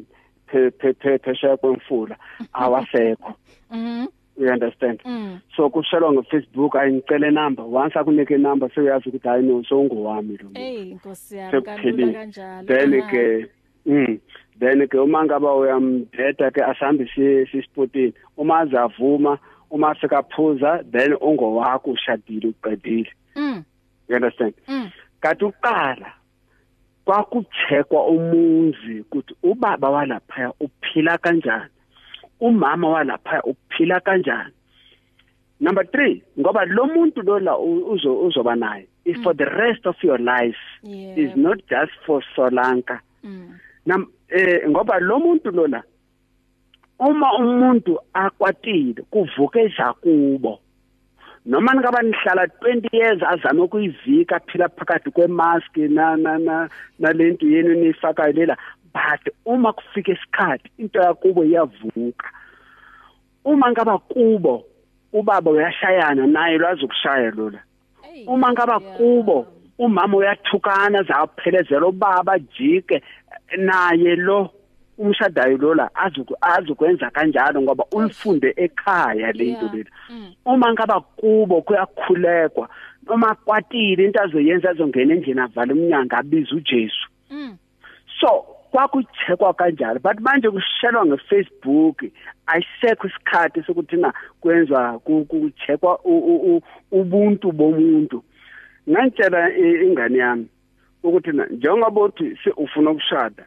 S6: phe- phe- phe- phesheya kwemfula awasekho
S2: mhm
S6: um you understand
S2: Mm.
S6: so kushelwa ngefacebook ayingicele number once akunike inumber sewuyazi ukuthi hayi no sowungowami lo muntu.
S2: Hey Nkosi yami kalula
S6: sekuphelile
S2: kanjalo.
S6: then
S2: Ah.
S6: ke mm then ke uma ngaba uyamdeda ke asambe siye sisipotini uma azavuma uma sekaphuza then ungowakho ushadile uqedile
S2: Mm.
S6: you understand
S2: Mm.
S6: kanti uqala kwakuchekwa umuzi ukuthi ubaba walaphaya uphila kanjani umama walaphaya uphila kanjani number 3 ngoba lo muntu lola u- uzo uzoba naye is for the rest of your life
S2: Mm. Yeah.
S6: is not just for Solanka
S2: Mm.
S6: nam eh ngoba lo muntu lona uma umuntu akwatile kuvuke jakubo noma ngaba nihlala 20 years azame ukuyivika phila phakathi kwemask na na na nalento yenu nifaka lela but uma kufika isikhathi into yakubo iyavuka uma ngaba kubo ubaba uyashayana naye lwazokushaya lola
S2: Hey.
S6: uma ngaba kubo umama uyathukana zaphelezela ubaba jike naye lo umshadayo lola azuku- azokwenza kanjalo ngoba ulifunde ekhaya lento
S2: Yeah. Mm.
S6: leli uma ngaba kubo kuyakhulekwa noma kwatile into azoyenza azongena endlini avale umnyanga abiza uJesu
S2: Mm.
S6: so kwakuchekwa kanjalo but manje kushelwa ngefacebook ayisekho isikhathi sokuthi na kwenza kuchekwa ubuntu bomuntu ngangitshela i- ingane yami ukuthi na njengoba uthi se- ufuna ukushada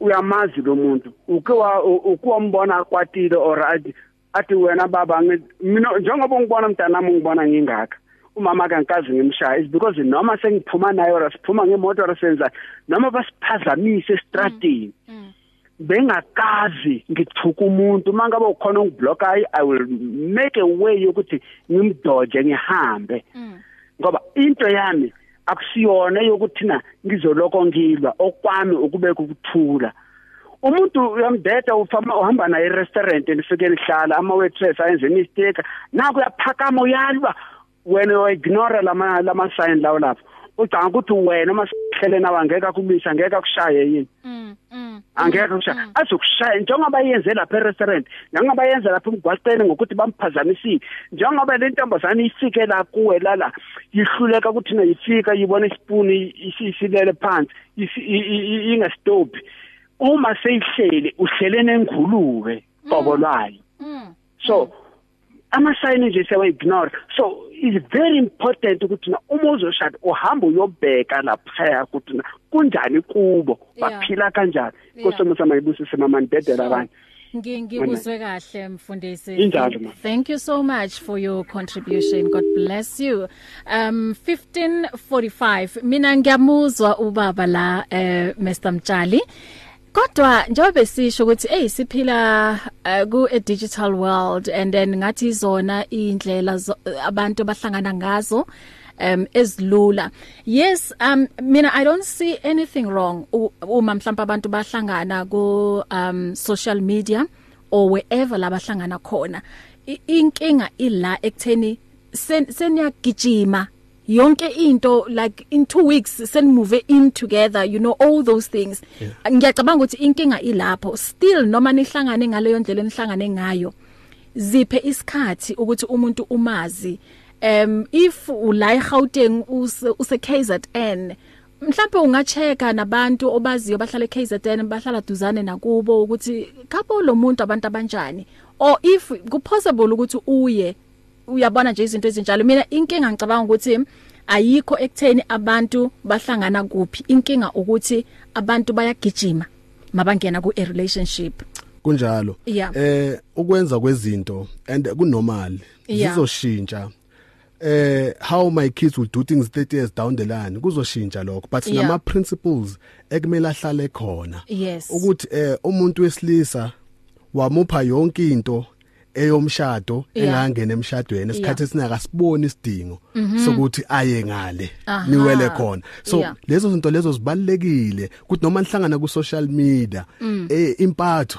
S6: uyamazi lo muntu uke wa- u- uke wambona kwatile or athi athi wena baba ngi- mina njengoba ungibona mntanami ungibona ngingaka umama akangikazi ngimshaya is because noma sengiphuma naye or siphuma ngemoto or senza noma basiphazamise estradini
S2: Mm.
S6: bengakazi ngithuka umuntu uma ngabe ukhona ongiblockayo i will make a way yokuthi ngimdoje ngihambe
S2: Mm.
S6: ngoba into yami akusiyona yokuthina ngizoloko ngilwa okwami ukubeka ukuthula umuntu uyamdeda ufama uhamba naye restaurant nifike nihlala ama waitress ayenze mistake naku uyaphakama uyalwa wena uyignore lama lama sign lawo lapho ucanga ukuthi wena masihlele nawe angeke akumisa angeke akushaye yini
S2: Mm. Mm.
S6: angeke kushaya azokushaya njengoba yenze lapha e-restaurant njengoba yenze lapha emgwaqeni ngokuthi bamphazamisile njengoba le ntombazane ifike la kuwe lala yihluleka ukuthi na yifika yibona isipuni isilele phansi isi- i- i- i- ingastophi uma seyihleli uhlele nengulube qobo lwayo
S2: Mm.
S6: so ama-sign nje siyawa-ignore so it's very important ukuthi na uma uzoshada uhambe uyobheka laphaya ukuthi na kunjani kubo
S2: Yeah.
S6: baphila kanjani
S2: Yeah.
S6: kosomusa mayibusise mama nidedela
S2: Sure.
S6: abanye
S2: Ngi- Ngikuzwe kahle mfundisi.
S6: Injalo, ma'am.
S2: Thank you so much for your contribution. God bless you. Um 1545 mina ngiyamuzwa ubaba la eh Mr Mtshali. Kodwa njengoba sisho ukuthi hey siphila eh, ku a digital world and then ngathi izona indlela zo- abantu abahlangana ngazo um ezilula yes um mina i don't see anything wrong u- uma mhlawumbe abantu bahlangana ku um social media or wherever labahlangana khona I- inkinga ila ekutheni sen- seniyagijima yonke into like in 2 weeks senimove in together you know all those things ngiyacabanga ukuthi inkinga ilapho still noma nihlangane ngale yondlela nihlangane ngayo ziphe isikhathi ukuthi umuntu umazi um if ula eGauteng use use KZN mhlawumbe ungacheka nabantu obaziyo bahlala e eKZN bahlala duzane nakubo ukuthi khapho lo muntu abantu abanjani or if kupossible ukuthi uye uyabona nje izinto ezinjalo mina inkinga ngicabanga ukuthi ayikho ekutheni abantu bahlangana kuphi inkinga ukuthi abantu bayagijima mabangena ku a relationship
S3: kunjalo
S2: Yeah.
S3: eh ukwenza kwezinto and kunormal
S2: Yeah.
S3: zizoshintsha eh how my kids will do things 30 years down the line kuzoshintsha lokho but
S2: Yeah.
S3: sinama principles ekumele ahlale khona
S2: Yes.
S3: ukuthi eh umuntu wesilisa wamupha yonke into eyomshado
S2: Yeah.
S3: engangena emshadweni esikhathi
S2: Yeah. Mhm.
S3: esingakasiboni isidingo sokuthi aye ngale niwele khona so
S2: Yeah.
S3: lezo
S2: Mm.
S3: zinto lezo zibalekile ukuthi noma nihlangana ku social media eh impatho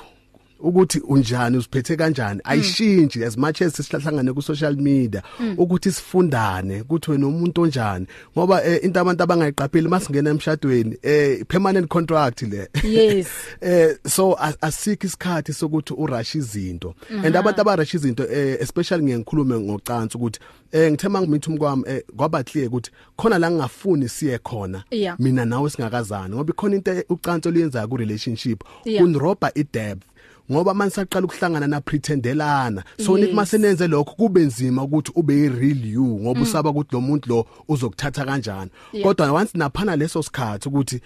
S3: ukuthi unjani uziphethe kanjani
S2: Mm.
S3: ayishintshi as much as sihlahlangane ku social media
S2: Mm.
S3: ukuthi sifundane ukuthi wena umuntu onjani ngoba eh, into abantu abangayiqapheli masingena emshadweni eh permanent contract le
S2: Yes.
S3: eh so as- asikho isikhathi sokuthi urash izinto and abantu abarash izinto eh, especially ngiyengikhulume ngocansi ukuthi eh ngithema ngimithumi kwami eh, kwaba clear ukuthi khona la ngingafuni siye khona
S2: Yeah.
S3: mina nawe singakazani ngoba ikhona into ucansi oluyenzayo ku relationship
S2: Yeah.
S3: unroba i depth ngoba manje saqala ukuhlangana na pretendelana so
S2: Yes.
S3: nithi masenenze lokho kube nzima ukuthi ube i real you ngoba usaba ukuthi lo muntu lo uzokuthatha kanjani
S2: Mm. Yeah.
S3: kodwa once naphana leso sikhathi ukuthi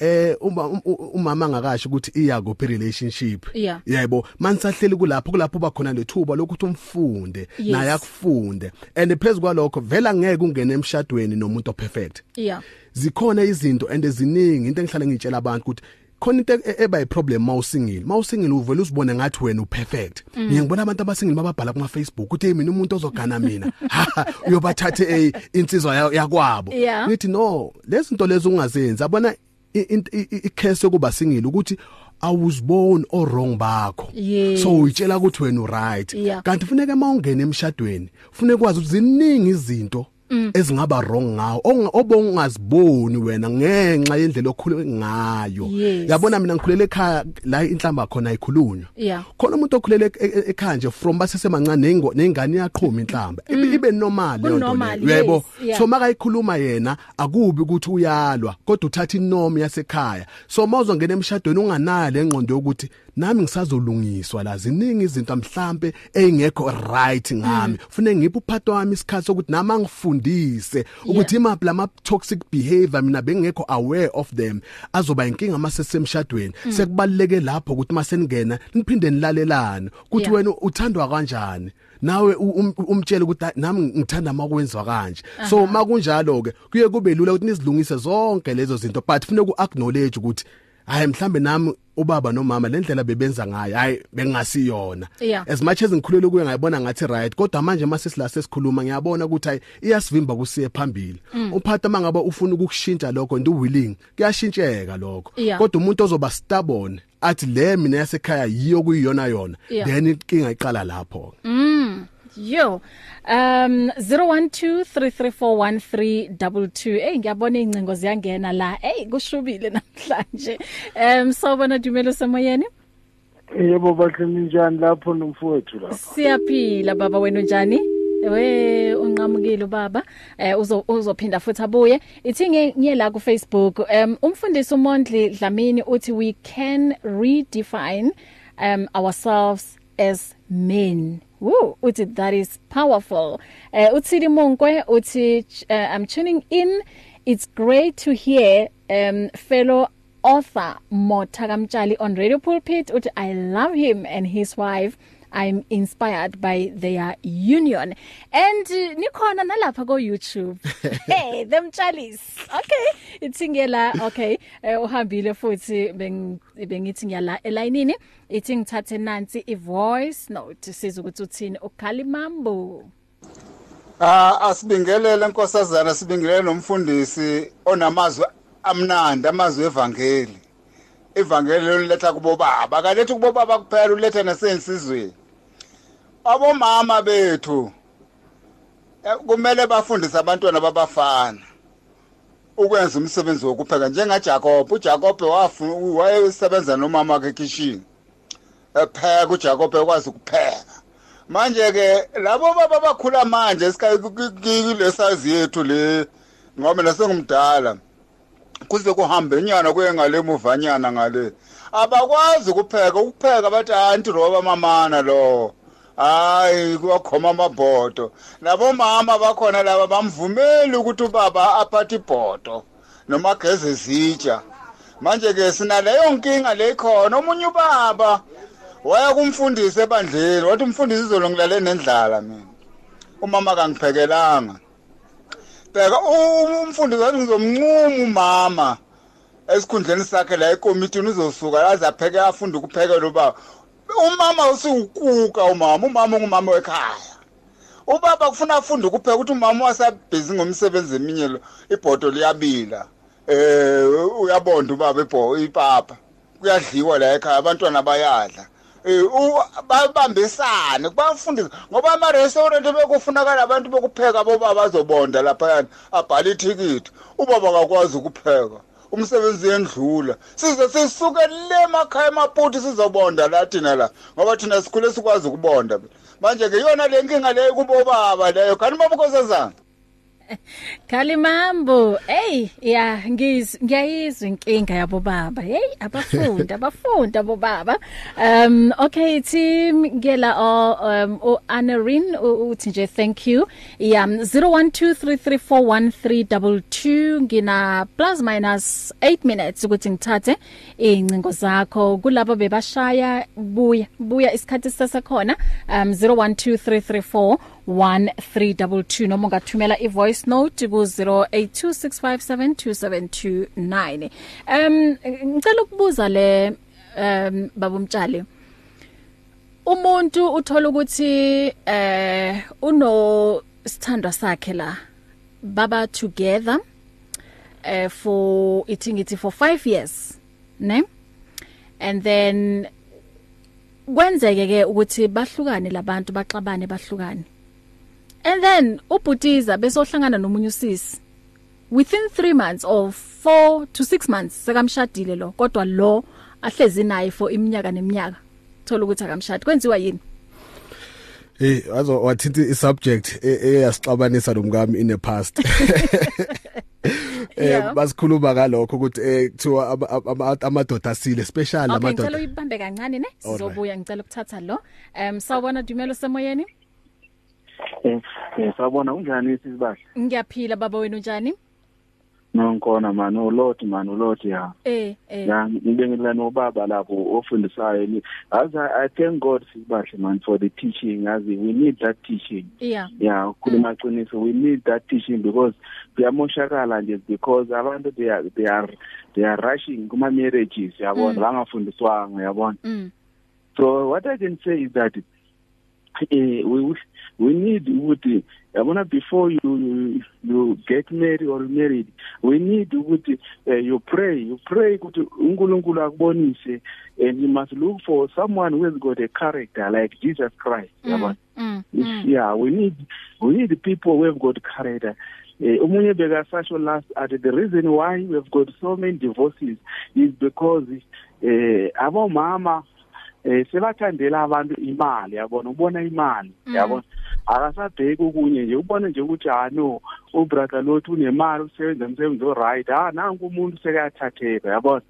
S3: eh uma um- u- umama angakasho ukuthi iya kuphi relationship
S2: Yeah.
S3: yebo mansahleli kulapho kulapho ba khona lethuba lokuthi umfunde
S2: Yes.
S3: naye akufunde and phezukwalokho vela ngeke ungene emshadweni nomuntu operfect
S2: Yeah.
S3: zikhona izinto and eziningi into engihlale ngitshela abantu ukuthi khona into e- eba yiproblem mawusingile mawusingile uvela usibone ngathi wena uperfect ngiyengibona abantu abasingile bababhala kuma Facebook ukuthi hey mina umuntu ozogana mina Ha, uyobathathe eh, insizwa ya- yakwabo
S2: Yeah.
S3: ngithi no lezi zinto lezo ungazenzi yabona i- in- i- i- i-case yokuba singile ukuthi awuziboni o-wrong bakho
S2: Yes.
S3: so uyitshela ukuthi wena uright
S2: Yeah.
S3: kanti funeke mawungena emshadweni funeke kwazi ukuthi ziningi izinto
S2: Mm.
S3: ezingaba wrong ngawo ong- obongaziboni wena ngenxa yendlela okhulwe ngayo
S2: Yes.
S3: yabona mina ngikhulela ekhaya la inhlamba khona ikhulunywa
S2: Yeah.
S3: khona umuntu okhulela e- e- ekhaya nje from basesemancane nengo- nengane yaqhoma inhlamba Ibe- ibe normal leyo nto
S2: Mm. Kunormal,
S3: leyo uyayibona
S2: yes, yeah.
S3: so makayikhuluma yena akubi ukuthi uyalwa kodwa uthatha inomi yasekhaya so mawuzongena emshadweni unganayo lengqondo yokuthi nami ngisazolungiswa la ziningi izinto mhlambe eyingekho right ngami fune ngiphe uphathi wami isikhathi sokuthi nami angifundise ukuthi imaphi lama toxic behavior mina bengekho aware of them azoba inkinga masesemshadweni sekubaluleke lapho ukuthi maseningena niphinde nilalelane ukuthi
S2: Yeah.
S3: wena uthandwa kanjani nawe u- um- umtshele ukuthi "Hayi, nami ngithanda makwenziwa kanje so makunjalo ke kuye kube lula ukuthi nizilungise zonke lezo zinto but kufanele uacknowledge ukuthi hayi mhlambe nami ubaba nomama lendlela bebenza ngayo hayi bengasiyona
S2: Yeah.
S3: as much as ngikhulele kuye ngayibona ngathi right kodwa manje mase silase sikhuluma ngiyabona ukuthi hayi iyasivimba kusiye phambili
S2: Mm.
S3: uphatha mangabe ufuna ukushintsha lokho and uwilling kuyashintsheka lokho
S2: Yeah.
S3: kodwa umuntu ozoba stubborn athi le mina yasekhaya yiyo kuyiyona yona
S2: Yeah. Mm.
S3: then inkinga iqala lapho
S2: Yo. Um 0123341322. Hey ngiyabona ingcingo ziyangena la. Hey kushubile namhlanje. Um sawubona Dumelo semoyeni.
S7: yebo bahle ninjani lapho nomfowethu lapho
S2: Siyaphila baba wena unjani? We unqamukile baba. Eh uzo uzophinda futhi abuye. Ithi nge- ngiye la ku Facebook. Um umfundisi uMondli Dlamini uthi we can redefine um ourselves as men. Woo, uthi that is powerful. Uh uthili Monkwe uthi uh, I'm tuning in. It's great to hear um fellow author Motha Kamtshali on Radio Pulpit uthi I love him and his wife I'm inspired by their union and uh, nikhona nalapha ko YouTube hey them chalis okay itsingela okay eh, uhambile futhi beng- bengithi ngiyala elayinini ithi ngithathe nansi i voice note siza ukuthi uthini ukhalimambo
S8: Ah asibingelele nkosazana sibingelele nomfundisi onamazwi amnandi amazwi evangeli. Evangeli leliletha kubo baba, akalethi kubo baba kuphela uletha nasensizweni. Abomama bethu eh, kumele bafundise abantwana babafana ukwenza umsebenzi wokupheka njengaJacob. uJacob wafuna wayesebenza nomama wakhe kitchen. Epheka uJacob ekwazi ukupheka. manje ke labo baba bakhula manje esikhaye kulesazi yethu le ngoba nasengumdala kuze kuhambe nyana kuye ngale muvanyana ngale abakwazi ukupheka ukupheka bathi "Ah, anti roba mamana lo hayi kuwakhoma amabhodo labo mama bakhona laba bamvumeli ukuthi ubaba aphathe ibhodo noma ageze zitsha manje ke sinaleyo nkinga lekhona omunye ubaba waya kumfundisi ebandleni wathi umfundisi izolo ngilale nendlala mina umama kangiphekelanga bheka u- umfundisi wathi ngizomncuma umama esikhundleni sakhe la ekomitini uzosuka aze apheke afunde ukuphekela ubaba umama usiwukuka umama umama ungumama wekhaya ubaba kufuna afunde ukupheka ukuthi umama wasabhizi ngomsebenzi eminye lo ibhodo liyabila Eh, um uyabonda ubaba ibho- ipapa kuyadliwa la ekhaya abantwana bayadla eh, u- babambisane kubafundise ngoba ama-restaurant bekufunakala abantu bokupheka boba bazobonda laphayana abhale ithikithi ubaba akakwazi ukupheka umsebenzi yendlula size sisuke le makhaya emaputi sizobonda la thina la ngoba thina sikhule sikwazi ukubonda manje ke yona le nkinga leyo kubobaba leyo kanti ubaba unkosazana
S2: Kalimambo, hey, ya ngiz ngiyayizwa inkinga yabo baba. Hey, abafunda, abafunda bo baba. Um okay team ngela o um o Anarin u- uthi nje thank you. Yeah 0123341322 ngina plus minus 8 minutes ukuthi ngithathe incingo zakho kulabo bebashaya buya buya isikhathi sasekhona um 012334 1322 noma ungathumela ivoice note ku 0826572729 um ngicela ukubuza le um babumtshali umuntu uthola ukuthi eh uno sithandwa sakhe la baba together eh for ithi ngithi for 5 years ne and then kwenzeke ke ukuthi bahlukane labantu baxabane bahlukane and then ubhutiza besohlangana nomunye usisi within 3 months or 4 to 6 months sekamshadile lo kodwa lo ahlezi naye for iminyaka neminyaka thola ukuthi akamshadi kwenziwa yini
S3: Eh azo wathithi isubject eyasixabanisa e, nomkami in the past. Eh
S2: Yeah.
S3: basikhuluma ngalokho ukuthi eh kuthiwa ama- ama- amadoda asile especially
S2: okay ngicela
S3: amadoda.
S2: uyibambe kancane ne
S3: Alright.
S2: sizobuya ngicela ukuthatha lo um sawubona dumelo semoyeni
S6: Eh, eh, sawubona unjani sisibahle
S2: ngiyaphila baba wenu njani
S6: nonkona mani ulot mani ulot ya
S2: eh eh
S6: ya ngibengela nobaba lapho ofundisayo ni as I, i thank god sisibahle man for the teaching as we need that teaching
S2: yeah
S6: ya
S2: Mm.
S6: ukhuluma qiniso we need that teaching because kuyamoshakala nje because abantu they are they are they are rushing kuma marriages yabona
S2: Mm.
S6: bangafundiswanga yabona
S2: mm
S6: so what i can say is that eh, we we need ukuthi yabona before you, you you get married or married we need ukuthi uh, you pray you pray ukuthi uNkulunkulu akubonise and you must look for someone who has got a character like Jesus Christ yabona
S2: mm mm,
S6: It's-
S2: mm
S6: yeah we need we need people who have got character Uh, umunye bekasasho last at the reason why we have got so many divorces is because uh, abomama eh sebathandela abantu imali yabona ubona imali
S2: Mhm.
S6: yabona akasabheki okunye nje ubone nje ukuthi ha no ubrother lot unemali usebenza umsebenzi oright ha nanku umuntu sekayathatheka yabona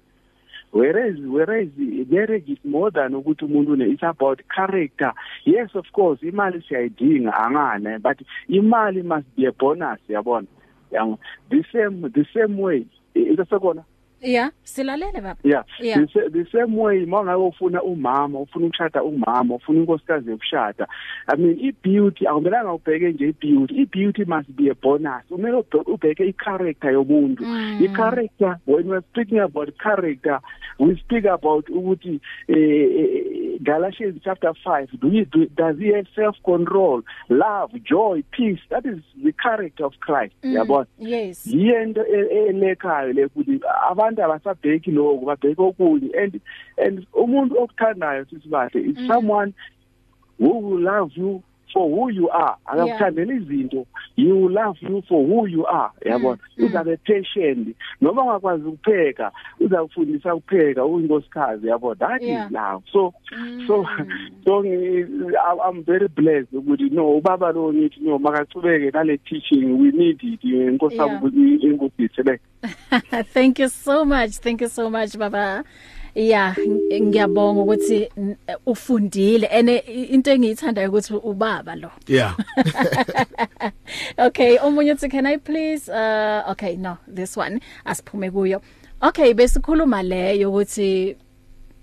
S6: whereas whereas marriage is more than ukuthi umuntu une it's about character yes of course imali siyayidinga angane but imali must be a bonus yabona yabona the same the same way isasekona
S2: yeah silalele baba
S6: yeah
S2: Yeah.
S6: the, sa- the same way mangabe ufuna umama ufuna ukushada umama ufuna inkosikazi yokushada i mean i-beauty akumelanga ubheke nje i-beauty i-beauty must be a bonus kumele ubhe- ubheke i-character yomuntu
S2: Mm.
S6: i-character when we're speaking about character we speak about ukuthi eh, galatians chapter 5 do you, do, does he have self control love joy peace that is the character of christ
S2: Mm,
S6: yabona
S2: yes
S6: yiyento e- elekayo le kuthi abantu abasabheki lokho babheke okunye and and umuntu okuthandayo sithi bahle is
S2: Mhm.
S6: someone who will love you for who you are akakuthandela izinto he will love you for who you are yabona
S2: Mhm.
S6: uzabe patient noma ungakwazi ukupheka uzakufundisa ukupheka uyinkosikazi yabona that
S2: Yeah.
S6: is love so so
S2: Mm.
S6: so ngi- I- i'm very blessed ukuthi no ubaba lo ngithi no makachubeke nale teaching we need it inkosi
S2: Yeah.
S6: ingubisi le
S2: Thank you so much. Thank you so much baba. Yeah, ng- ngiyabonga ukuthi n- ufundile and eh, into engiyithandayo ukuthi ubaba lo.
S3: Yeah.
S2: Okay, omunye uthi can I please uh okay, no, this one asiphume kuyo. Okay, besikhuluma leyo ukuthi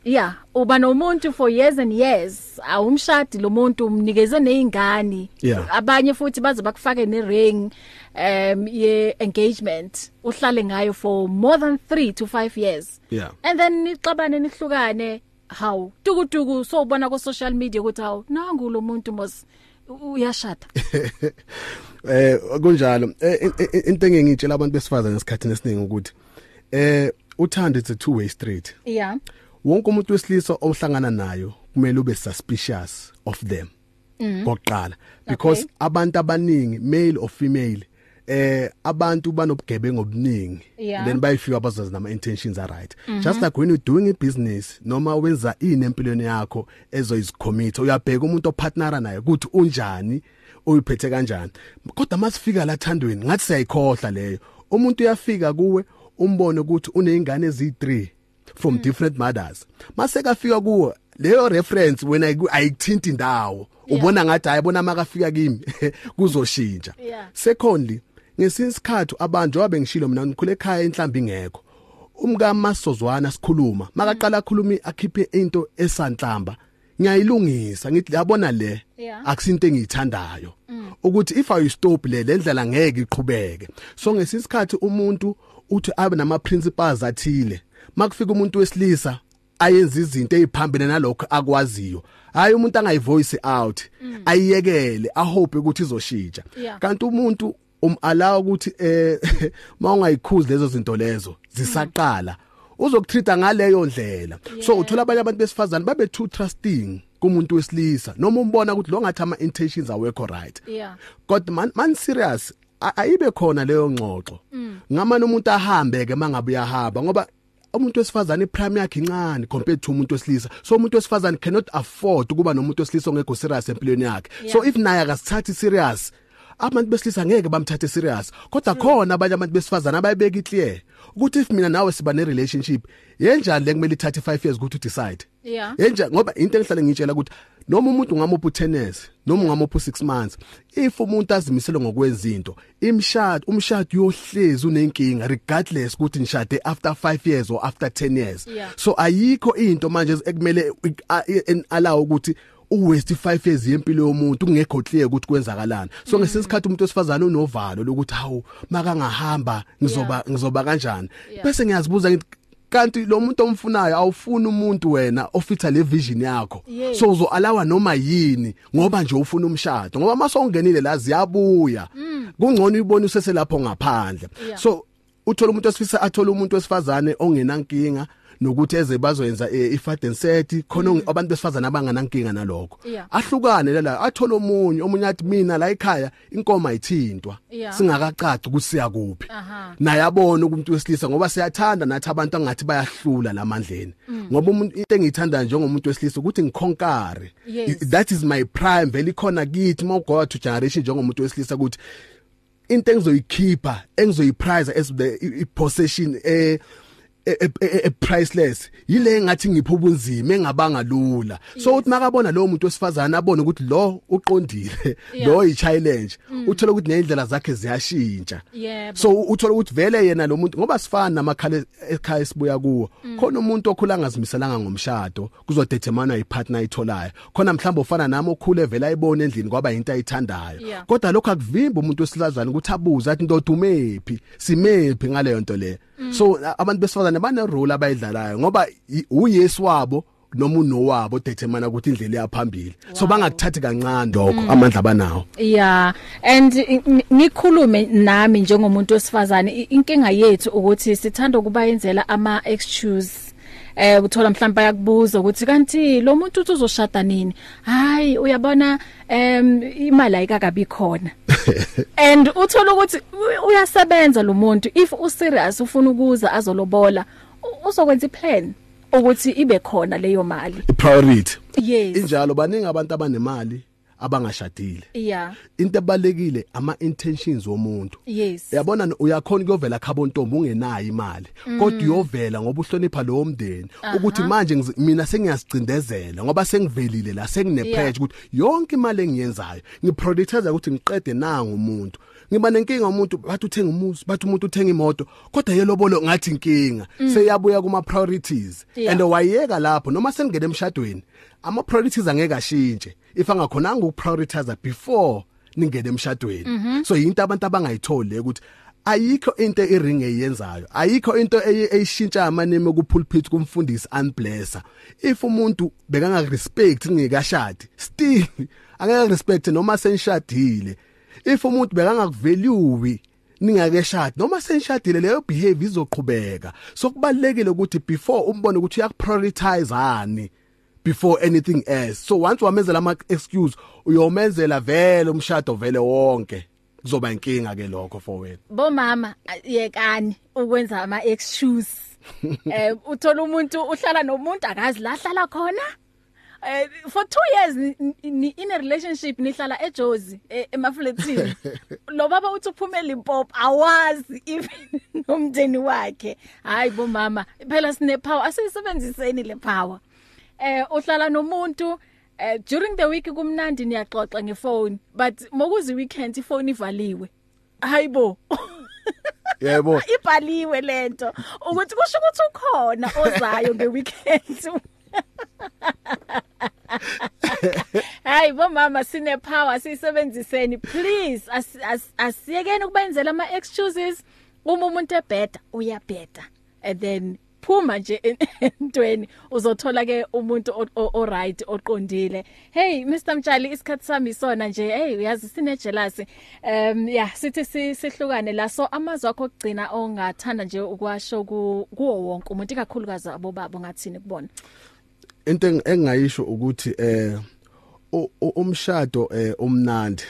S2: yeah, uba nomuntu for years and years, awumshadi lo muntu umnikeze neingane.
S3: Yeah.
S2: Abanye futhi baze bakufake ne ring um ye engagement uhlale ngayo for more than 3 to 5 years.
S3: Yeah.
S2: And then nixabane nihlukane how tukutuku so ubona ku social media ukuthi how nangu lo muntu mos u- uyashada.
S3: Eh kunjalo Eh, in- in- into engiyitshela abantu besifazana esikhathini esiningi ukuthi eh uthando it's a two way street.
S2: Yeah.
S3: Wonke umuntu wesilisa omhlangana nayo kumele ube suspicious of them kokuqala because abantu abaningi male or female eh abantu banobugebengu obuningi
S2: Yeah.
S3: then bayifika bazazi nama intentions are right just like when you doing a business noma wenza ini empilweni yakho ezoyizicommit uyabheka umuntu opartnera naye ukuthi unjani uyiphethe kanjani kodwa masifika la thandweni ngathi siyayikhohla leyo umuntu uyafika kuwe umbone ukuthi uneyingane ezi3
S2: Mm.
S3: from different mothers mase kafika kuwe leyo reference wena ayiku- ayithinti indawo ubona ngathi ayibona makafika kimi kuzoshintsha
S2: Yeah.
S3: secondly ngesinye isikhathi abantu njengoba bengishilo mina ngikhule ekhaya inhlambi ngekho umkamasozwana
S2: Mm.
S3: sikhuluma makaqala akhulumi akhiphe into esanhlamba ngiyayilungisa ngithi yabona le
S2: Yeah. Mm.
S3: akusinto engiyithandayo ukuthi if i stop le lendlela ngeke iqhubeke so ngesisikhathi umuntu uthi abe nama principles athile makufika umuntu wesilisa ayenza izinto eziphambene nalokho akwaziyo hayi umuntu angayivoice out ayiyekele ahope ukuthi izoshintsha
S2: Mm. Yeah.
S3: kanti umuntu umalawa ukuthi eh mawungayikhuzi lezo zinto
S2: Mm.
S3: lezo zisaqala uzokutreata ngaleyo ndlela so uthola abanye abantu besifazane babe too trusting kumuntu wesilisa noma umbona ukuthi lo ngathi ama intentions awekho right
S2: Yeah.
S3: kodwa man, man serious a- ayibe khona leyo ngxoxo ngamani umuntu ahambe ke mangabe uyahamba ngoba umuntu wesifazane iprime yakhe incane compared to umuntu wesilisa so umuntu wesifazane cannot afford ukuba nomuntu wesilisa ongekho serious empilweni yakhe so if naye akasithathi serious abantu besilisa ngeke bamthathe serious kodwa khona abanye abantu besifazane abayibeka iclear ukuthi if mina nawe siba ne relationship yenjani le kumele ithathe 5 years ukuthi udecide
S2: Yeah.
S3: yenja ngoba into engihlale ngitshela ukuthi noma umuntu ngamuphu 10 years noma ngamuphu 6 months if umuntu azimisela ngokwenza into imshado umshado uyohlezi unenkinga regardless ukuthi nishade after 5 years or after 10 years
S2: Yeah.
S3: so ayikho into manje ekumele alawo ukuthi uwaste 5 years yempilo yomuntu kungekho clear ukuthi kwenzakalani
S2: Mm-hmm.
S3: so ngesesikhathi umuntu osifazana unovalo lokuthi hawu maka ngahamba ngizoba ngizoba kanjani
S2: Yeah.
S3: bese ngiyazibuza ngithi kanti lo muntu omfunayo awufuni umuntu wena ofitha le vision yakho
S2: Yes.
S3: so uzoalawa noma yini ngoba nje ufuna umshado ngoba maso ungenile la ziyabuya kungcono uyibone useselapho ngaphandle
S2: Mm. Yeah.
S3: so uthola umuntu osifisa athola umuntu wesifazane ongenankinga nokuthi eze bazoyenza ifad and set khona onge- abantu besifazana abanganankinga nalokho
S2: Mm. Yeah.
S3: ahlukane la athola omunye omunye athi mina la ekhaya inkomo ayithintwa
S2: Yeah.
S3: singakacaci ukuthi siya kuphi
S2: Aha.
S3: naye abone ukuthi wesilisa ngoba siyathanda nathi abantu angathi bayahlula lamandleni
S2: Mm.
S3: ngoba umuntu into engiyithanda njengomuntu wesilisa ukuthi ngikhonkare
S2: Yes.
S3: I- that is my prime vele khona kithi mawugoda to generation njengomuntu wesilisa ukuthi into engizoyikhipha engizoyiprize as the i- i- possession eh e- e- e- e- priceless yile ngathi ngipha ubunzima engabanga lula so uthi makabona lo muntu wesifazana abone ukuthi lo uqondile
S2: Yeah. Mm.
S3: lo yi challenge uthola ukuthi nezindlela zakhe ziyashintsha
S2: Yebo.
S3: so uthola ukuthi vele yena lo muntu ngoba sifana namakhala ekhaya esibuya kuwo khona umuntu okhula angazimiselanga ngomshado kuzodetermana ipartner ayitholayo khona mhlawumbe ufana nami okhule vele ayibona endlini kwaba into ayithandayo
S2: Yeah.
S3: kodwa lokho akuvimbi umuntu wesilazana ukuthi abuze athi ndoda umephi simephi ngaleyo nto le so a- abantu besifazane bane role abayidlalayo ngoba i- uyesu wabo noma unowabo determina ukuthi indlela iyaphambili so bangakuthathi kancane lokho amandla abanawo
S2: Yeah and i- ni- nikhulume nami njengomuntu osifazane i- inkinga yethu ukuthi sithanda ukuba yenzela ama excuses eh uthola mhlawumbe yakubuza ukuthi kanti lo muntu uthi uzoshada nini hayi uyabona em imali ayikakabi khona and uthola ukuthi u- uyasebenza lo muntu if u serious ufuna ukuza azolobola u- uzokwenza iplan ukuthi ibe khona leyo mali
S3: priority
S2: yes
S3: injalo baningi abantu abanemali abangashadile
S2: yeah
S3: into ebalekile ama intentions womuntu
S2: yes
S3: yabona no- uyakhona kuyovela khabo ntombi ungenayo imali kodwa uyovela ngoba uhlonipha lowo mndeni ukuthi manje ngiz- mina sengiyasicindezela ngoba sengivelile la sengine
S2: Yeah.
S3: pressure ukuthi yonke imali engiyenzayo ngiprioritize ukuthi ngiqede nangu umuntu ngiba nenkinga umuntu bathi uthenga umuzi bathi umuntu uthenga imoto kodwa yelobolo ngathi inkinga seyabuya kuma priorities
S2: Mm. Yeah.
S3: and wayeka lapho noma sengene emshadweni ama priorities angeke ashintshe if angakhona ukuprioritize before ningene
S2: Mm-hmm.
S3: emshadweni so yinto abantu abangayitholi le ukuthi ayikho into iring eyenzayo ayikho into eye- eyishintsha amaneme ku pulpit kumfundisi unblesser if umuntu bekanga respect ngikashadi still angeke respect noma senishadile if umuntu bekanga kuvalue ningakeshadi noma senishadile leyo behavior izoqhubeka so kubalekile ukuthi before umbone ukuthi uyakuprioritize ani before anything else so once wamenzela ama excuse uyomenzela vele umshado vele wonke kuzoba inkinga ke lokho for wena
S2: bomama yekani ukwenza ama excuse eh uthola umuntu uhlala nomuntu akazi la hlala khona eh for 2 years ni- ni in a relationship nihlala eJozi e- emaflatini lo baba uthi uphume eLimpopo awazi even nomndeni wakhe hayi bomama phela sine power asisebenziseni le power eh uhlala nomuntu eh during the week kumnandi niyaxoxa ngefoni but mokuzi weekend ifoni ivaliwe hayibo
S3: yebo
S2: ibhaliwe lento ukuthi kusho ukuthi ukhona ozayo ngeweekend Hayi bomama sine power sisebenziseni please as- as- asiyekeni ukubenzela ama excuses uma umuntu ebheda uyabheda and then phuma nje entweni uzothola ke umuntu o- o- o right oqondile hey Mr Mtshali isikhatsi sami isona nje hey uyazi sine jealousy um yeah sithi si- sihlukane la so amazwi akho okugcina ongathanda nje ukwasho ku kuwo wonke umuntu kakhulukazi abobaba ngathini kubona
S3: into eng- engingayisho ukuthi eh u- u- umshado eh umnandi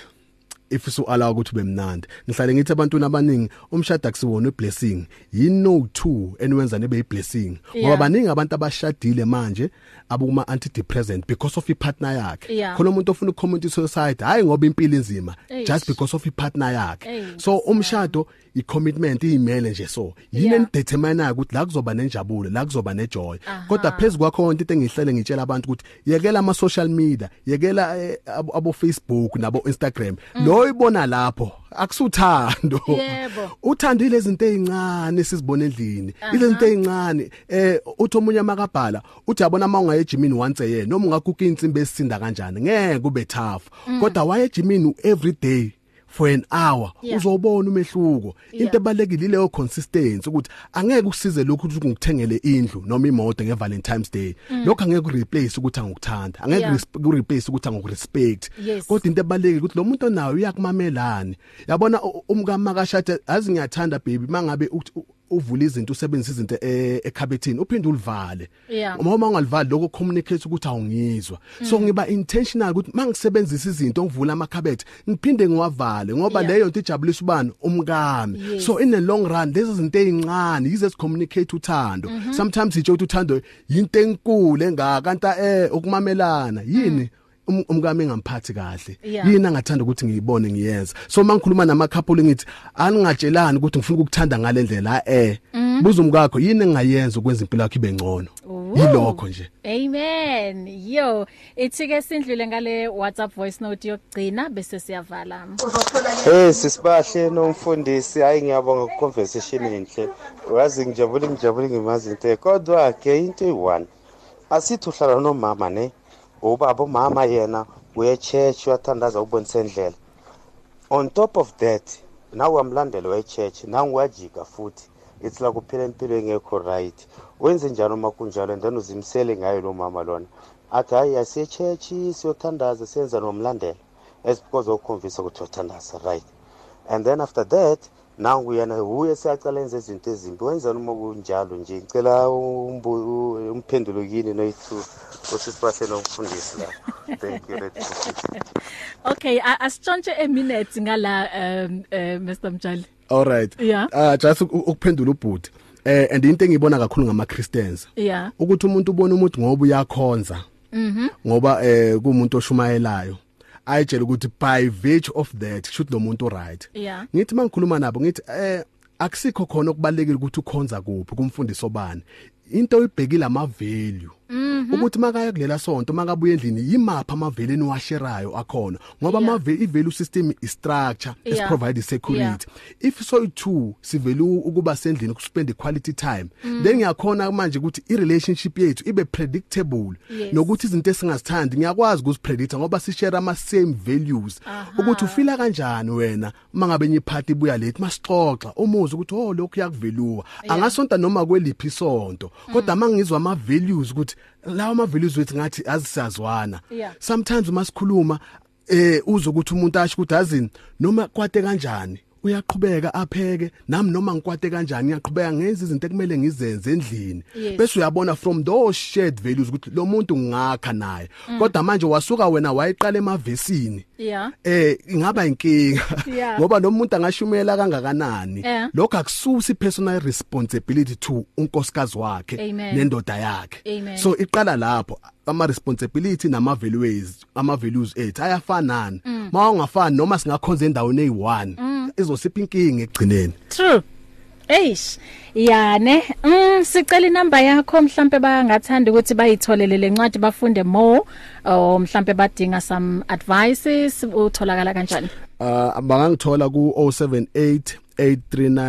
S3: if so allow ukuthi bemnandi ngihlale ngithi abantu abaningi umshado akusiwona iblessing yini no two enwenza nebe iblessing ngoba
S2: Yeah.
S3: baningi abantu abashadile manje abukuma antidepressant because of ipartner yakhe
S2: Yeah.
S3: khona umuntu ofuna ukomment suicide hayi ngoba impilo inzima
S2: Eish.
S3: just because of ipartner yakhe
S2: Eish,
S3: so umshado icommitment iyimele nje so yini
S2: Yeah.
S3: endetermine ukuthi la kuzoba nenjabulo la kuzoba nejoy kodwa phezulu kwakho konke into engihlele ngitshela abantu ukuthi yekela ama social media yekela eh, abo abo Facebook nabo Instagram
S2: Mm.
S3: lo ibona lapho akusuthando
S2: Yebo.
S3: uthandile izinto Eh, ezincane sizibona endlini izinto ezincane eh uthi omunye makabhala uthi yabona uma ungaye gymini once yena noma ungakuka insimbi esinda kanjani ngeke kube tough
S2: Mm.
S3: kodwa waye gymini every day for an hour
S2: Yeah.
S3: uzobona umehluko
S2: Yeah.
S3: into ebalekile leyo consistency ukuthi angeke kusize lokhu ukuthi ungithengele indlu noma imoto ngeValentine's Day lokho angeke kureplace ukuthi angikuthanda angeke
S2: Mm. Yeah.
S3: kuresp- kureplace ukuthi angikurespect
S2: Yes.
S3: kodwa into ebalekile ukuthi lo muntu onayo uyakumamelani yabona u- umkama kashada azi ngiyathanda baby mangabe uthi u- uvula izinto usebenzisa izinto e- ekhabethini uphinde ulivale
S2: Yeah.
S3: uma ungalivali lokho communicate ukuthi awungizwa so ngiba intentional ukuthi mangisebenzisa izinto ngivula amakhabethe ngiphinde ngiwavale ngoba
S2: Yeah.
S3: leyo nto ijabulisa ubani umkami
S2: Yes.
S3: so in the long run lezi zinto ezincane yize sicommunicate uthando
S2: Mhm.
S3: sometimes itshe ukuthi uthando into enkulu engaka kanti eh ukumamelana yini um- umkami engamphathi kahle
S2: Mm. Yeah.
S3: yini angathanda ukuthi ngiyibone ngiyenza so mangikhuluma namakhapuli ngithi aningatshelani ukuthi ngifuna ukukuthanda ngale ndlela eh
S2: Mm.
S3: buza umkakho yini engayenza ukwenza impilo yakho ibe ngcono
S2: Ooh.
S3: yilokho nje
S2: Amen. Yo, ithike sindlule ngale WhatsApp voice note yokugcina bese siyavala.
S9: Hey sisibahle nomfundisi hayi ngiyabonga ku conversation enhle. Wazi ngijabule ngijabule ngimazi into kodwa ke into eyi-one. Asithi uhlala nomama ne. Ubaba umama yena uye church uyathandaza ukubonisa indlela. On top of that, nawe uyamlandela uye church, nawe uyajika futhi. It's like uphila impilo engekho right. Wenze njalo uma kunjalo and then uzimisele ngayo lo mama lona. Athi hayi asiye church siyothandaza senza nomlandela. It's because okhomvisa ukuthi uthandaza right. and then after that nangu yena uye seyacala enze izinto ezimbi wenzani uma kunjalo nje ngicela umbu- umphendulo kini noyithu osisibahle nomfundisi la thank you Red Bull.
S2: Okay, a- asitshontshe a minute ngala um eh, Mr Mjali.
S3: all right
S2: Yeah.
S3: ah just uk- ukuphendula ubhuti eh and into engiyibona kakhulu ngama Christians
S2: Yeah.
S3: ukuthi umuntu ubone umuntu ngoba uyakhonza mhm ngoba eh kumuntu oshumayelayo ayitshela ukuthi by virtue of that should lo muntu right
S2: Yeah.
S3: ngithi mangikhuluma nabo ngithi eh akusikho khona okubalekile ukuthi ukhonza kuphi kumfundiso bani into ibhekile ama value
S2: Mhm.
S3: ukuthi makaya kulela sonto makabuye endlini yimapha ama value eniwasherayo akhona ngoba
S2: Yeah.
S3: ama i value system i structure is
S2: Yeah.
S3: provide security if so too sivele ukuba sendlini kuspend quality time then ngiyakhona manje ukuthi i relationship yethu ibe predictable
S2: Yes.
S3: nokuthi izinto esingazithandi ngiyakwazi ukuzipredict ngoba sishare ama same values ukuthi ufila kanjani wena uma ngabe enye party ibuya late masixoxa umuzwa ukuthi oh lokhu yakuveluwa angasonta noma kweliphi isonto kodwa mangizwa ama values ukuthi lawa ama values wethu ngathi azisazwana
S2: Yeah.
S3: sometimes masikhuluma eh uzokuthi umuntu asho ukuthi azini noma kwate kanjani uyaqhubeka apheke nami noma ngikwate kanjani ngiyaqhubeka ngenza izinto ekumele ngizenze endlini
S10: Yes.
S3: bese uyabona from those shared values ukuthi lo muntu ngakha naye kodwa manje wasuka wena wayiqala emavesini
S2: Yeah.
S3: eh ingaba
S2: Yeah.
S3: inkinga ngoba nomuntu angashumela kangakanani
S2: Eh.
S3: lokho akususi personal responsibility to unkosikazi wakhe
S2: Amen.
S3: nendoda yakhe
S2: Amen.
S3: so iqala lapho ama responsibility nama values ama values ethu ayafanana
S2: Mm.
S3: mawungafani noma singakhonza endaweni eyi1
S2: Mm.
S3: izosipha inkinga ekugcineni
S2: True. Eish. Yane, mm sicela inamba yakho mhlambe bayangathanda ukuthi bayitholele lencwadi bafunde more or mhlambe badinga some advices utholakala kanjani?
S3: uh bangangithola ku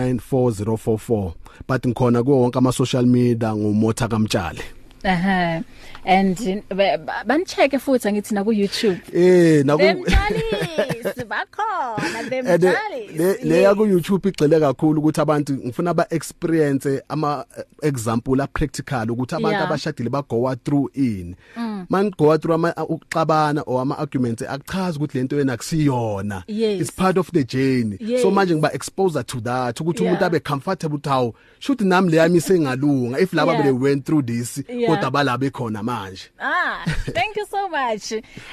S3: 0788394044 but ngikhona kuwo wonke ama social media ngumotha kamtshali
S2: Ehhe. And ba- ba- banicheke futhi ngithi na ku YouTube.
S3: eh naku
S2: Themthalis bakhona
S3: and
S2: themthalis.
S3: le leya ku YouTube igxile kakhulu ukuthi abantu ngifuna ba experience ama eh, example a practical ukuthi abantu
S10: Yeah.
S3: abashadile ba go through ini
S10: Mm.
S3: mangoa through ama ukuxabana or ama arguments akuchazi ukuthi lento yena akusiyona
S10: Yes.
S3: it's part of the journey so
S10: Yes.
S3: manje ngiba exposure to that ukuthi
S10: Yeah.
S3: umuntu abe comfortable ukuthi hawu shoot nami leyami sengalunga if laba
S2: Yeah.
S3: bele went through this
S2: Yeah.
S3: kodwa balabe khona manje
S2: Ah, thank you so much.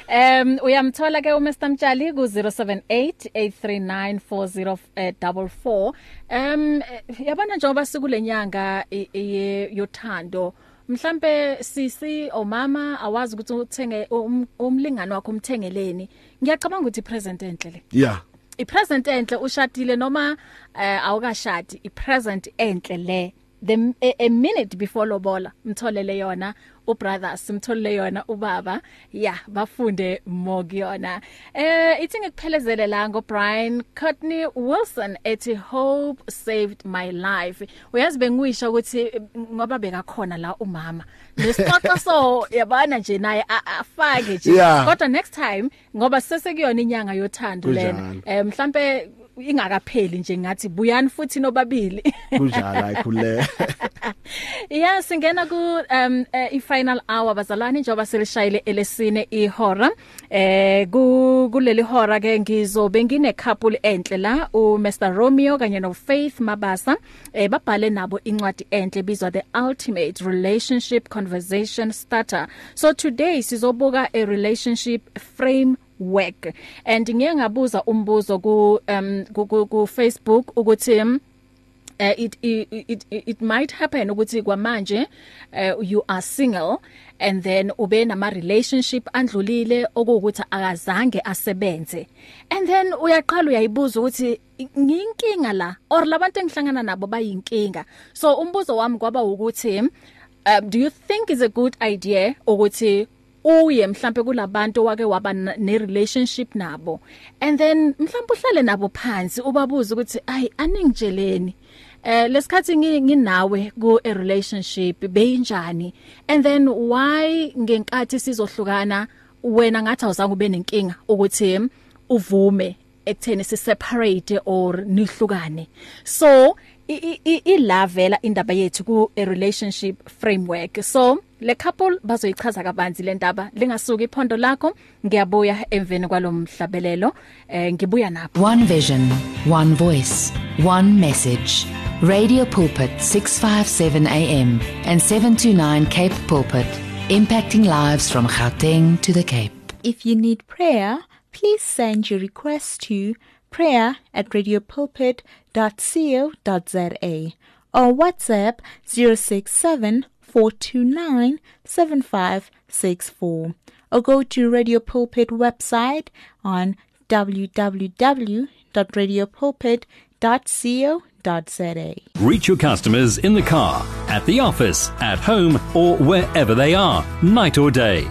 S2: Um uyamthola ke uMr Mtshali ku 0788394044. eh, Um eh, yabona njengoba sikulenyanga e- e- yothando mhlambe sisi omama awazi ukuthi uthenge um- umlingani wakho umthengeleni. Ngiyacabanga ukuthi present enhle le.
S3: yeah
S2: ipresent enhle ushadile noma eh, awukashadi ipresent enhle le the a, a minute before lobola mtholele yona ubrother simtholele yona ubaba yeah bafunde more kuyona eh ithi ngikuphelezele la ngo Brian Courtney Wilson ethi hope saved my life uyazi bengisho ukuthi eh, ngoba bekakhona la umama nesixoxo so yabana nje naye a- afake nje
S10: Yeah.
S2: kodwa next time ngoba sesekuyona inyanga yothando lena
S3: Kunjalo.
S2: eh mhlambe ingakapheli nje ngathi buyani futhi nobabili
S3: kunjalo ayikhuleka
S2: yeah singena ku um eh, i-final hour bazalwane njengoba selishayile elesine ihora eh ku kuleli hora ke ngizobe ngine couple enhle la uMr Romeo kanye noFaith Mabasa eh babhale nabo incwadi enhle bizwa the ultimate relationship conversation starter so today sizobuka a relationship frame work and ngiye ngabuza umbuzo ku um ku- ku ku Facebook ukuthi um, uh, it, it it it might happen ukuthi kwamanje uh, you are single and then ube nama relationship andlulile okuwukuthi akazange asebenze and then uyaqala uyayibuza ukuthi ngiyinkinga la or labantu engihlangana nabo bayinkinga so umbuzo wami kwaba ukuthi um, do you think is a good idea ukuthi uye mhlambe kulabantu wake waba na- ne relationship nabo and then mhlambe uhlale nabo phansi ubabuze ukuthi ayi aningitsheleni eh lesikhathi ngi- nginawe ku a relationship beyinjani and then why ngenkathi sizohlukana wena ngathi awuzange ube nenkinga ukuthi uvume ekutheni si separate or nihlukane so i- i- i- ilavela indaba yethu ku a relationship framework so le couple bazoyichaza kabanzi le ndaba lingasuka iphondo lakho ngiyabuya emveni kwalomhlabelelo eh ngibuya nabo
S11: One vision, one voice, one message. Radio Pulpit 657 AM and 729 Cape Pulpit, impacting lives from Gauteng to the Cape.
S12: If you need prayer, please send your request to prayer at radiopulpit.co.za or WhatsApp 067 429 7564 or go to Radio Pulpit website on www.radiopulpit.co.za.
S1: Reach your customers in the car, at the office, at home, or wherever they are, night or day.